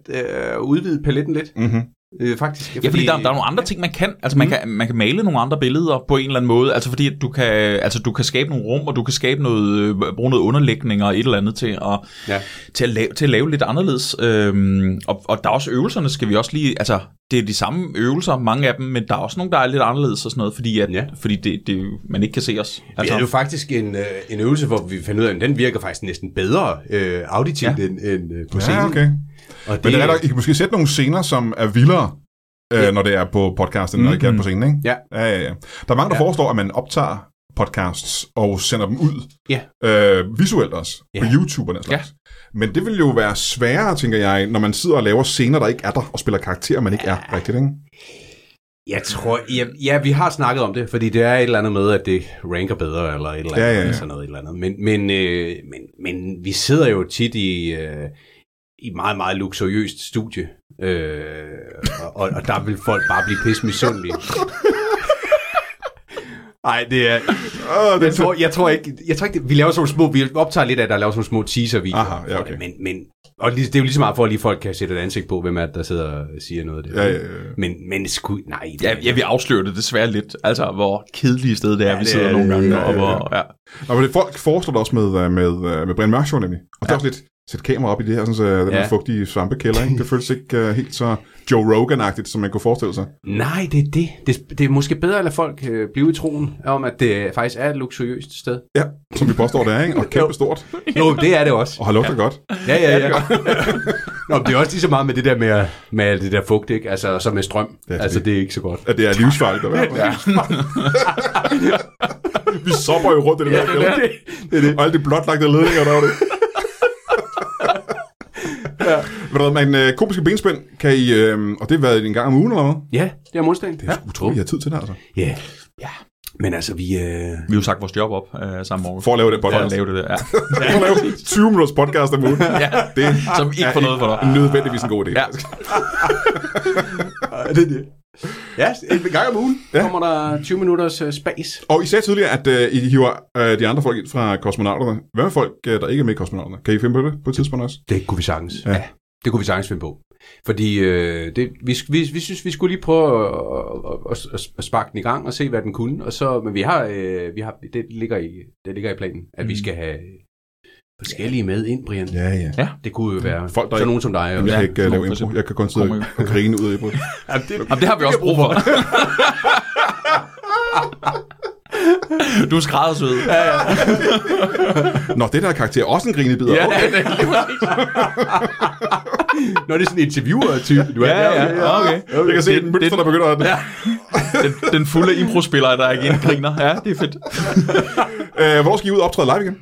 [SPEAKER 2] øh, udvide paletten lidt,
[SPEAKER 1] Mm-hmm.
[SPEAKER 2] øh, faktisk.
[SPEAKER 3] Ja, fordi der, der er nogle andre ting, man kan. Altså, man, kan, man kan male nogle andre billeder på en eller anden måde. Altså, fordi at du kan, altså, du kan skabe nogle rum, og du kan skabe noget, øh, bruge noget underlægning og et eller andet til at,
[SPEAKER 2] Ja.
[SPEAKER 3] til at, lave, til at lave lidt anderledes. Øhm, og, og der er også øvelserne, skal vi også lige... Altså, det er de samme øvelser, mange af dem, men der er også nogle, der er lidt anderledes og sådan noget, fordi, at,
[SPEAKER 2] Ja.
[SPEAKER 3] ja. fordi det, det, man ikke kan se os.
[SPEAKER 2] Vi
[SPEAKER 3] Altså,
[SPEAKER 2] havde jo faktisk en, øh, en øvelse, hvor vi fandt ud af, at den virker faktisk næsten bedre øh, auditivt ja. end, end øh, på scenen.
[SPEAKER 1] Ja, okay.
[SPEAKER 2] Og
[SPEAKER 1] Men det er nok, I kan måske sætte nogle scener, som er vildere, øh, når det er på podcasten, når det ikke er på scenen, ikke?
[SPEAKER 2] Mm-hmm. Ja.
[SPEAKER 1] ja, ja, ja. Der er mange, der ja.
[SPEAKER 2] Ja.
[SPEAKER 1] foreslår, at man optager podcasts og sender dem ud
[SPEAKER 2] Ja.
[SPEAKER 1] øh, visuelt også, ja. på
[SPEAKER 2] Ja.
[SPEAKER 1] YouTube og den slags. Ja. Men det vil jo være sværere, tænker jeg, når man sidder og laver scener, der ikke er der, og spiller karakterer, man ikke er rigtigt, ikke?
[SPEAKER 2] Jeg tror, ja, ja, vi har snakket om det, fordi det er et eller andet med, at det ranker bedre, eller et eller andet,
[SPEAKER 1] Ja,
[SPEAKER 2] ja,
[SPEAKER 1] ja,
[SPEAKER 2] ja,
[SPEAKER 1] ja.
[SPEAKER 2] Sådan noget, et eller andet. Men, men, øh, men, men vi sidder jo tit i, øh, i meget, meget luksuriøst studie, øh, og, og, og der vil folk bare blive pisse misundelige. Nej, det er...
[SPEAKER 1] Åh,
[SPEAKER 2] Jeg tror, jeg tror ikke, jeg tror ikke det, vi laver sådan nogle små, vi optager lidt af, der laver sådan nogle små teaser-videoer.
[SPEAKER 1] Aha, ja, okay.
[SPEAKER 2] Men, men, og lige- det er jo lige så meget for, at lige folk kan sætte et ansigt på, hvem er det, der sidder og siger noget af det.
[SPEAKER 1] Ja, ja, ja.
[SPEAKER 2] Men, men sku, nej. det-
[SPEAKER 3] ja, ja, vi afslører det desværre lidt. Altså, hvor kedelige sted det er, ja, vi
[SPEAKER 2] det
[SPEAKER 3] sidder
[SPEAKER 2] er
[SPEAKER 3] nogle
[SPEAKER 2] det.
[SPEAKER 3] gange.
[SPEAKER 1] Ja,
[SPEAKER 3] og
[SPEAKER 1] ja,
[SPEAKER 3] hvor, ja.
[SPEAKER 1] Nå, men det, folk foreslår det også med, øh, med, øh, med Brian Mørk Show, nemlig. Og det er også lidt sæt kamera op i det her, sådan, så øh, den ja.
[SPEAKER 2] Ja.
[SPEAKER 1] her fugtige svampekælder, ikke? Det føles ikke øh, helt så Joe Rogan-agtigt, som man kunne forestille sig.
[SPEAKER 2] Nej, det er det. Det, det er måske bedre at lade folk øh, blive i troen om, at det øh, faktisk er et luksuriøst sted.
[SPEAKER 1] Ja, som vi påstår, det er, ikke? Og kæmpe stort.
[SPEAKER 2] Jo, det er det også.
[SPEAKER 1] Og har lugtet ja. godt.
[SPEAKER 2] Ja, ja, ja. Nå, men det er også lige så meget med det der med, at- med det der fugt, ikke? Altså, og så med strøm.
[SPEAKER 1] Ja,
[SPEAKER 2] Ja, altså, det er ikke så godt.
[SPEAKER 1] At det er livsfarligt at være på. Ja. Vi sopper jo rundt i det ja, der kælder.
[SPEAKER 2] det, det, er det.
[SPEAKER 1] Og alle de blotlagte ledninger, der var det. ja. Ved du hvad, men øh, komiske benspænd kan I... Øh, og det har været en gang om ugen eller hvad?
[SPEAKER 2] Ja, det er om onsdagen. Det
[SPEAKER 1] Jeg skulle tro, I har tid til det, altså.
[SPEAKER 2] Ja. ja. Men altså, vi... Øh...
[SPEAKER 3] Vi har jo sagt vores job op øh, samme morgen.
[SPEAKER 1] For at lave den
[SPEAKER 3] for at
[SPEAKER 1] podcast.
[SPEAKER 3] lave det der. Ja.
[SPEAKER 1] For at lave 20 minutters podcast om ugen.
[SPEAKER 3] ja.
[SPEAKER 1] Det er
[SPEAKER 3] Som ikke får noget for dig.
[SPEAKER 1] nødvendigvis en god idé.
[SPEAKER 3] Ja.
[SPEAKER 2] det er det. Ja, en gang om ugen
[SPEAKER 1] Ja.
[SPEAKER 2] ja. kommer der 20 minutters uh, space.
[SPEAKER 1] Og I sagde tidligere, at øh, I hiver øh, de andre folk ind fra kosmonauterne. Hvad med folk, øh, der ikke er med i kosmonauterne? Kan I finde på det på et tidspunkt også?
[SPEAKER 2] Det kunne vi sagtens. Ja. ja. Det kunne vi sagtens finde på. Fordi øh, det, vi, vi, vi synes, vi skulle lige prøve at, at, at, at sparke den i gang og se, hvad den kunne. Og så, men vi har, øh, vi har det, ligger i, det ligger i planen, at mm. vi skal have forskellige med ind, Brian. Ja.
[SPEAKER 1] ja.
[SPEAKER 2] Det kunne jo være
[SPEAKER 1] Folk,
[SPEAKER 2] Folk,
[SPEAKER 1] der
[SPEAKER 2] der sådan
[SPEAKER 1] ikke-
[SPEAKER 2] nogen som dig.
[SPEAKER 1] Jamen,
[SPEAKER 2] Jamen,
[SPEAKER 1] jeg
[SPEAKER 2] ja.
[SPEAKER 1] kan
[SPEAKER 6] øh,
[SPEAKER 1] ikke uh, lave
[SPEAKER 3] for
[SPEAKER 1] impro.
[SPEAKER 3] eksempel.
[SPEAKER 1] Jeg kan kun sidde
[SPEAKER 3] Kommer
[SPEAKER 1] og grine ud af impro.
[SPEAKER 2] Jamen, det,
[SPEAKER 3] Jamen, det har vi også brug for. Du er skræddersød.
[SPEAKER 6] Nå, det der er karakter også en grinebider. Ja. Okay.
[SPEAKER 3] det er lige præcis.
[SPEAKER 2] Når det er sådan en interviewer-type, du er.
[SPEAKER 3] Ja, ja, okay.
[SPEAKER 6] Jeg kan se
[SPEAKER 3] Det-
[SPEAKER 6] en mønster,
[SPEAKER 3] det-
[SPEAKER 6] der begynder at... Ja.
[SPEAKER 3] Den, den fulde impro-spiller, der ikke griner. Ja, det er fedt.
[SPEAKER 6] Øh, hvor skal I ud og optræde live igen?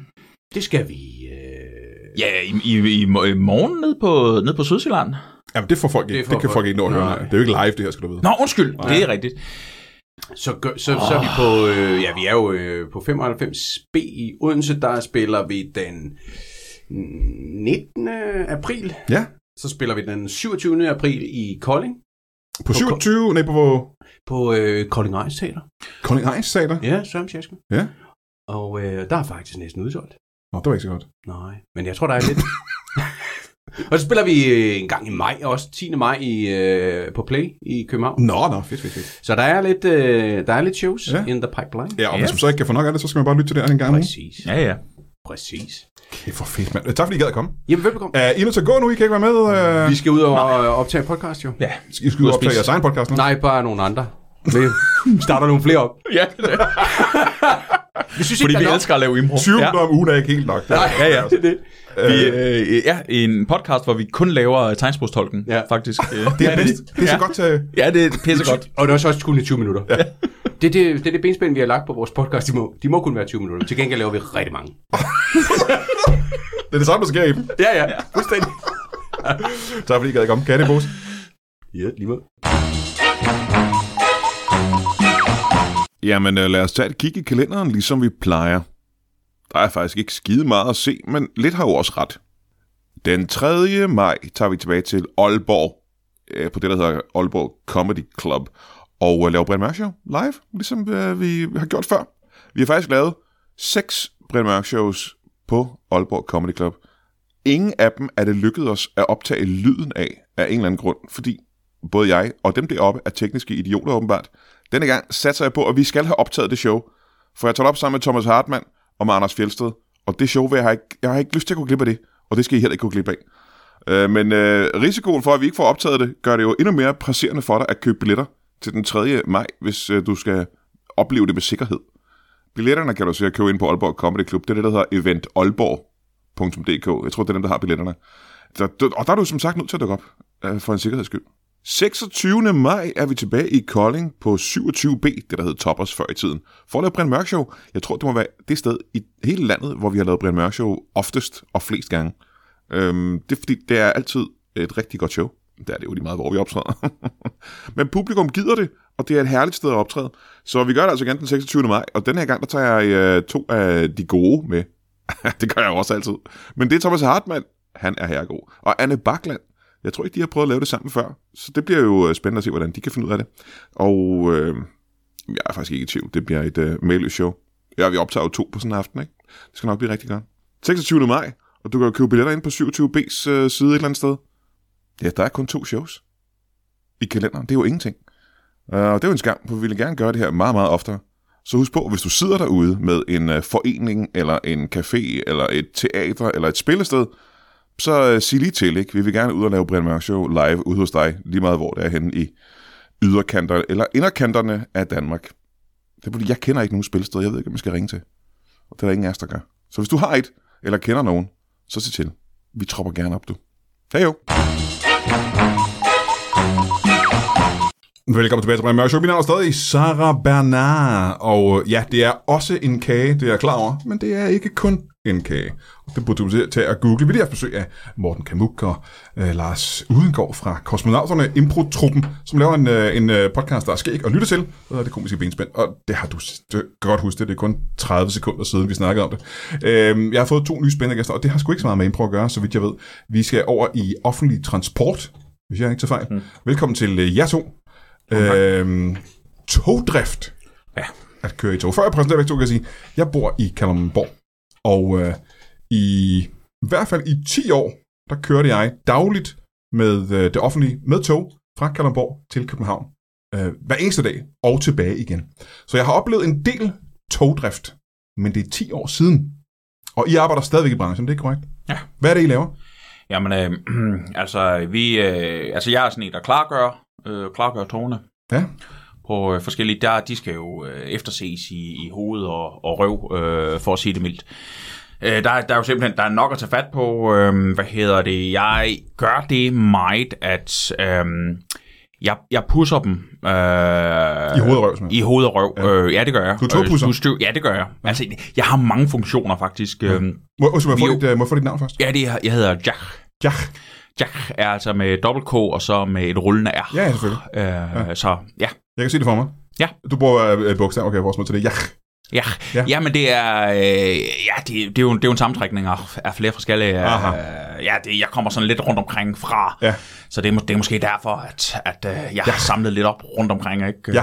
[SPEAKER 2] Det skal vi... Øh...
[SPEAKER 3] Ja, i, i, i mo- i morgen nede på, nede på Sydsjælland.
[SPEAKER 6] Jamen, det får folk ikke.
[SPEAKER 2] Det
[SPEAKER 6] Det,
[SPEAKER 2] får
[SPEAKER 6] det kan folk
[SPEAKER 2] folk-
[SPEAKER 6] ikke nå at høre.
[SPEAKER 2] Nej.
[SPEAKER 6] Det er jo ikke live, det her, skal du vide.
[SPEAKER 3] Nå, undskyld. Det er rigtigt.
[SPEAKER 2] Så, gør, så, så er vi på... Øh, ja, vi er jo øh, på 95B i Odense. Der spiller vi den 19. april.
[SPEAKER 6] Ja.
[SPEAKER 2] Så spiller vi den 27. april i Kolding.
[SPEAKER 6] På 27, nej, på
[SPEAKER 2] På øh, Kolding Ejs Teater.
[SPEAKER 6] Kolding Ejs Teater.
[SPEAKER 2] Ja, Søren Sjaske.
[SPEAKER 6] Ja.
[SPEAKER 2] Og øh, der er faktisk næsten udsolgt.
[SPEAKER 6] Nå, det var ikke så godt.
[SPEAKER 2] Nej, men jeg tror, der er lidt. og så spiller vi øh, en gang i maj også, 10. maj i, øh, på Play i København.
[SPEAKER 6] Nå, nå, fedt, fedt, fedt.
[SPEAKER 2] Så der er lidt, øh, der er lidt shows
[SPEAKER 6] Ja.
[SPEAKER 2] ja. in the pipeline.
[SPEAKER 6] Ja, og
[SPEAKER 3] Ja.
[SPEAKER 6] hvis man så ikke kan få nok af det, så skal man bare lytte til det her en gang. Præcis.
[SPEAKER 2] Præcis,
[SPEAKER 3] Ja, ja.
[SPEAKER 2] præcis.
[SPEAKER 6] Kæft, hvor fedt, mand. Øh, Tak fordi I gad at komme.
[SPEAKER 2] Jamen, velbekomme.
[SPEAKER 6] Er I nødt til at gå nu? I kan ikke være med. Øh,
[SPEAKER 2] Vi skal ud og øh, optage podcast jo.
[SPEAKER 3] Ja,
[SPEAKER 6] I skal ud og optage
[SPEAKER 3] spise.
[SPEAKER 6] jeres egen podcast nu.
[SPEAKER 2] Nej, bare nogle andre. Vi starter nogle flere op.
[SPEAKER 3] ja det er.
[SPEAKER 2] Vi synes
[SPEAKER 3] Fordi
[SPEAKER 2] ikke,
[SPEAKER 3] vi
[SPEAKER 2] der er nok.
[SPEAKER 3] elsker at lave impro.
[SPEAKER 6] 20
[SPEAKER 3] ja.
[SPEAKER 6] minutter om ugen er ikke helt nok.
[SPEAKER 2] Nej,
[SPEAKER 3] Ja, ja.
[SPEAKER 2] det er det.
[SPEAKER 3] Vi, øh, ja, en podcast, hvor vi kun laver øh, tegnsprogstolken,
[SPEAKER 2] Ja.
[SPEAKER 3] ja. faktisk. Øh,
[SPEAKER 6] Det er
[SPEAKER 3] ja,
[SPEAKER 6] bedst. Det er så
[SPEAKER 3] ja.
[SPEAKER 6] godt til...
[SPEAKER 3] Ja, det er pissegodt.
[SPEAKER 2] Og det er også også kun i 20 minutter. Ja. Det, er det, det er det benspænd, vi har lagt på vores podcast. De må, de må kun være 20 minutter. Til gengæld laver vi rigtig mange.
[SPEAKER 6] Det er det samme, der sker i dem.
[SPEAKER 2] Ja, ja. Fuldstændig.
[SPEAKER 6] Tak fordi I gad at komme. Kattebos.
[SPEAKER 2] Ja, lige måde.
[SPEAKER 1] Jamen, øh, lad os tage et kig i kalenderen, ligesom vi plejer. Der er faktisk ikke skide meget at se, men lidt har jo også ret. Den 3. maj tager vi tilbage til Aalborg, øh, på det, der hedder Aalborg Comedy Club, og øh, laver Brian Mørk Show live, ligesom øh, vi har gjort før. Vi har faktisk lavet seks Brian Mørk Shows på Aalborg Comedy Club. Ingen af dem er det lykkedes os at optage lyden af, af en eller anden grund, fordi både jeg og dem deroppe er tekniske idioter åbenbart. Denne gang satser jeg på, at vi skal have optaget det show, for jeg tager det op sammen med Thomas Hartmann og med Anders Fjelsted, og det show vil jeg, have ikke, jeg har ikke lyst til at gå glip af det, og det skal I heller ikke gå glip af. Øh, men øh, risikoen for, at vi ikke får optaget det, gør det jo endnu mere presserende for dig at købe billetter til den 3. maj, hvis øh, du skal opleve det med sikkerhed. Billetterne kan du sikkert købe ind på Aalborg Comedy Club. Det er det, der hedder eventaalborg.dk. Jeg tror, det er dem, der har billetterne. Der, der, og der er du som sagt nødt til at dukke op, øh, for en sikkerheds skyld. 26. maj er vi tilbage i Kolding på 27B, det der hed Toppers før i tiden, for at lave Brian Mørk Show. Jeg tror, det må være det sted i hele landet, hvor vi har lavet Brian Mørk Show oftest og flest gange. Øhm, det er fordi, det er altid et rigtig godt show. Det er det jo lige meget, hvor vi optræder. Men publikum gider det, og det er et herligt sted at optræde. Så vi gør det altså igen den 26. maj, og den her gang, der tager jeg øh, to af de gode med. det gør jeg jo også altid. Men det er Thomas Hartmann, han er herregod. Og Anne Bakland, jeg tror ikke, de har prøvet at lave det sammen før. Så det bliver jo øh, spændende at se, hvordan de kan finde ud af det. Og øh, jeg er faktisk ikke i tvivl, det bliver et øh, mailøst show. Ja, vi optager jo to på sådan en aften, ikke? Det skal nok blive rigtig godt. 26. maj, og du kan jo købe billetter ind på 27B's øh, side et eller andet sted. Ja, der er kun to shows i kalenderen. Det er jo ingenting. Øh, Og det er jo en skam, for vi ville gerne gøre det her meget, meget oftere. Så husk på, hvis du sidder derude med en øh, forening, eller en café, eller et teater, eller et spillested, så øh, sig lige til, ikke? Vi vil gerne ud og lave Brian Mørk Show live ude hos dig, lige meget hvor det er henne i yderkanterne, eller inderkanterne af Danmark. Det er fordi, jeg kender ikke nogen spillested, jeg ved ikke, om jeg skal ringe til. Og det er der ingen af os, der gør. Så hvis du har et, eller kender nogen, så sig til. Vi tropper gerne op, du. Hej jo!
[SPEAKER 6] Velkommen tilbage til Brian Mørk Show. Mit navn er stadig Sarah Bernard. Og øh, ja, det er også en kage, det er jeg klar over. Men det er ikke kun en kage. Det burde du til at google. Vi har haft besøg af Morten Kamuk og øh, Lars Udengård fra Kosmonauterne Impro-truppen, som laver en, øh, en øh, podcast, der er skæg og lytte til. Og det komiske benspænd. Og det har du s- det, kan godt huske, det, det er kun 30 sekunder siden, vi snakkede om det. Øh, jeg har fået to nye spændende gæster, og det har sgu ikke så meget med impro at gøre, så vidt jeg ved. Vi skal over i offentlig transport, hvis jeg ikke tager fejl. Mm. Velkommen til øh, jer to. Øhm, togdrift.
[SPEAKER 2] Ja.
[SPEAKER 6] At køre i tog. Før jeg præsenterer begge to, kan jeg sige, jeg bor i Kalundborg. Og øh, i, i hvert fald i 10 år, der kørte jeg dagligt med øh, det offentlige, med tog fra Kalundborg til København. Øh, hver eneste dag og tilbage igen. Så jeg har oplevet en del togdrift, men det er 10 år siden. Og I arbejder stadigvæk i branchen, det er korrekt?
[SPEAKER 3] Ja.
[SPEAKER 6] Hvad er det, I laver?
[SPEAKER 3] Jamen, øh, altså, vi, øh, altså, jeg er sådan en, der klargør, øh, klargør tårne.
[SPEAKER 6] Ja.
[SPEAKER 3] på øh, forskellige, der, de skal jo øh, efterses i, i hoved og, og røv, øh, for at sige det mildt. Øh, der, er- der er jo simpelthen der er nok at tage fat på. Øh, hvad hedder det? Jeg gør det meget, at øh, jeg, jeg pusser dem. Øh,
[SPEAKER 1] I hovedet og røv, simpelthen.
[SPEAKER 3] I hoved og røv. Ja, øh, ja det gør jeg.
[SPEAKER 1] Du er togpudser?
[SPEAKER 3] Øh, støv- Ja, det gør jeg. Altså, jeg har mange funktioner, faktisk. Ja, øh,
[SPEAKER 1] Må, undskyld, må, jeg få
[SPEAKER 3] Vi-
[SPEAKER 1] dit, øh, må jeg få dit navn først?
[SPEAKER 3] ja det er, jeg hedder Jack.
[SPEAKER 1] Ja.
[SPEAKER 3] Jack er altså med dobbelt K og så med et rullende R.
[SPEAKER 1] Ja, selvfølgelig.
[SPEAKER 3] Øh, Så ja,
[SPEAKER 1] Jeg kan se det for mig.
[SPEAKER 3] Ja.
[SPEAKER 1] Du bruger øh, øh, bogstaver, okay, jeg bruger sådan noget til det. Ja.
[SPEAKER 3] Ja,
[SPEAKER 1] Ja.
[SPEAKER 3] ja. ja men det er, øh, ja, det, det, er jo, en- det er jo en sammentrækning af, af flere forskellige...
[SPEAKER 1] Aha.
[SPEAKER 3] Øh, ja, det, jeg kommer sådan lidt rundt omkring fra,
[SPEAKER 1] Ja.
[SPEAKER 3] så det er, må- det er måske derfor, at, at øh, jeg har samlet lidt op rundt omkring. Ikke?
[SPEAKER 1] Ja.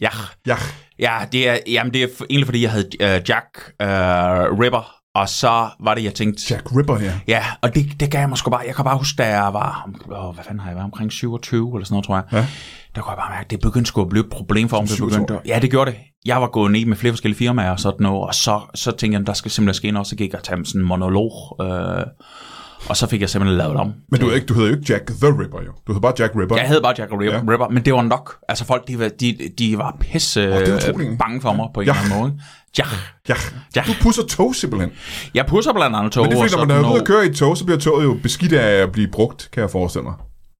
[SPEAKER 3] ja.
[SPEAKER 1] Ja.
[SPEAKER 3] Ja, det er, jamen, det er f- egentlig, fordi jeg havde øh, Jack øh, Ripper, og så var det, jeg tænkte...
[SPEAKER 1] Jack Ripper her.
[SPEAKER 3] Ja, og det, det gav jeg mig sgu bare. Jeg kan bare huske, da jeg var, åh, hvad fanden har jeg været, omkring 27 eller sådan noget, tror jeg.
[SPEAKER 1] Ja.
[SPEAKER 3] Der kunne jeg bare mærke, det begyndte sgu at blive et problem for mig. Det begyndte,
[SPEAKER 1] 27-årig?
[SPEAKER 3] ja, det gjorde det. Jeg var gået ned med flere forskellige firmaer og sådan noget, og så, så tænkte jeg, der skal simpelthen ske noget, så gik jeg og tage sådan en monolog, øh, og så fik jeg simpelthen lavet om.
[SPEAKER 1] Men du, hedder ikke, du hedder jo ikke Jack the Ripper, jo. Du hedder bare Jack Ripper.
[SPEAKER 3] Jeg havde bare Jack Ripper,
[SPEAKER 1] Ja.
[SPEAKER 3] ja. Ripper, men det var nok. Altså folk, de var, de, de var pisse
[SPEAKER 1] det er utroligt,
[SPEAKER 3] øh,
[SPEAKER 1] ikke?
[SPEAKER 3] bange for mig på en
[SPEAKER 1] Ja.
[SPEAKER 3] eller anden måde. Ja,
[SPEAKER 1] Ja.
[SPEAKER 3] Ja.
[SPEAKER 1] Du pusser tog simpelthen.
[SPEAKER 3] jeg pusser blandt andet tog.
[SPEAKER 1] Men det er
[SPEAKER 3] og
[SPEAKER 1] fordi, når man
[SPEAKER 3] sådan
[SPEAKER 1] er ude
[SPEAKER 3] noget.
[SPEAKER 1] og køre i et tog, så bliver toget jo beskidt af at blive brugt, kan jeg forestille mig.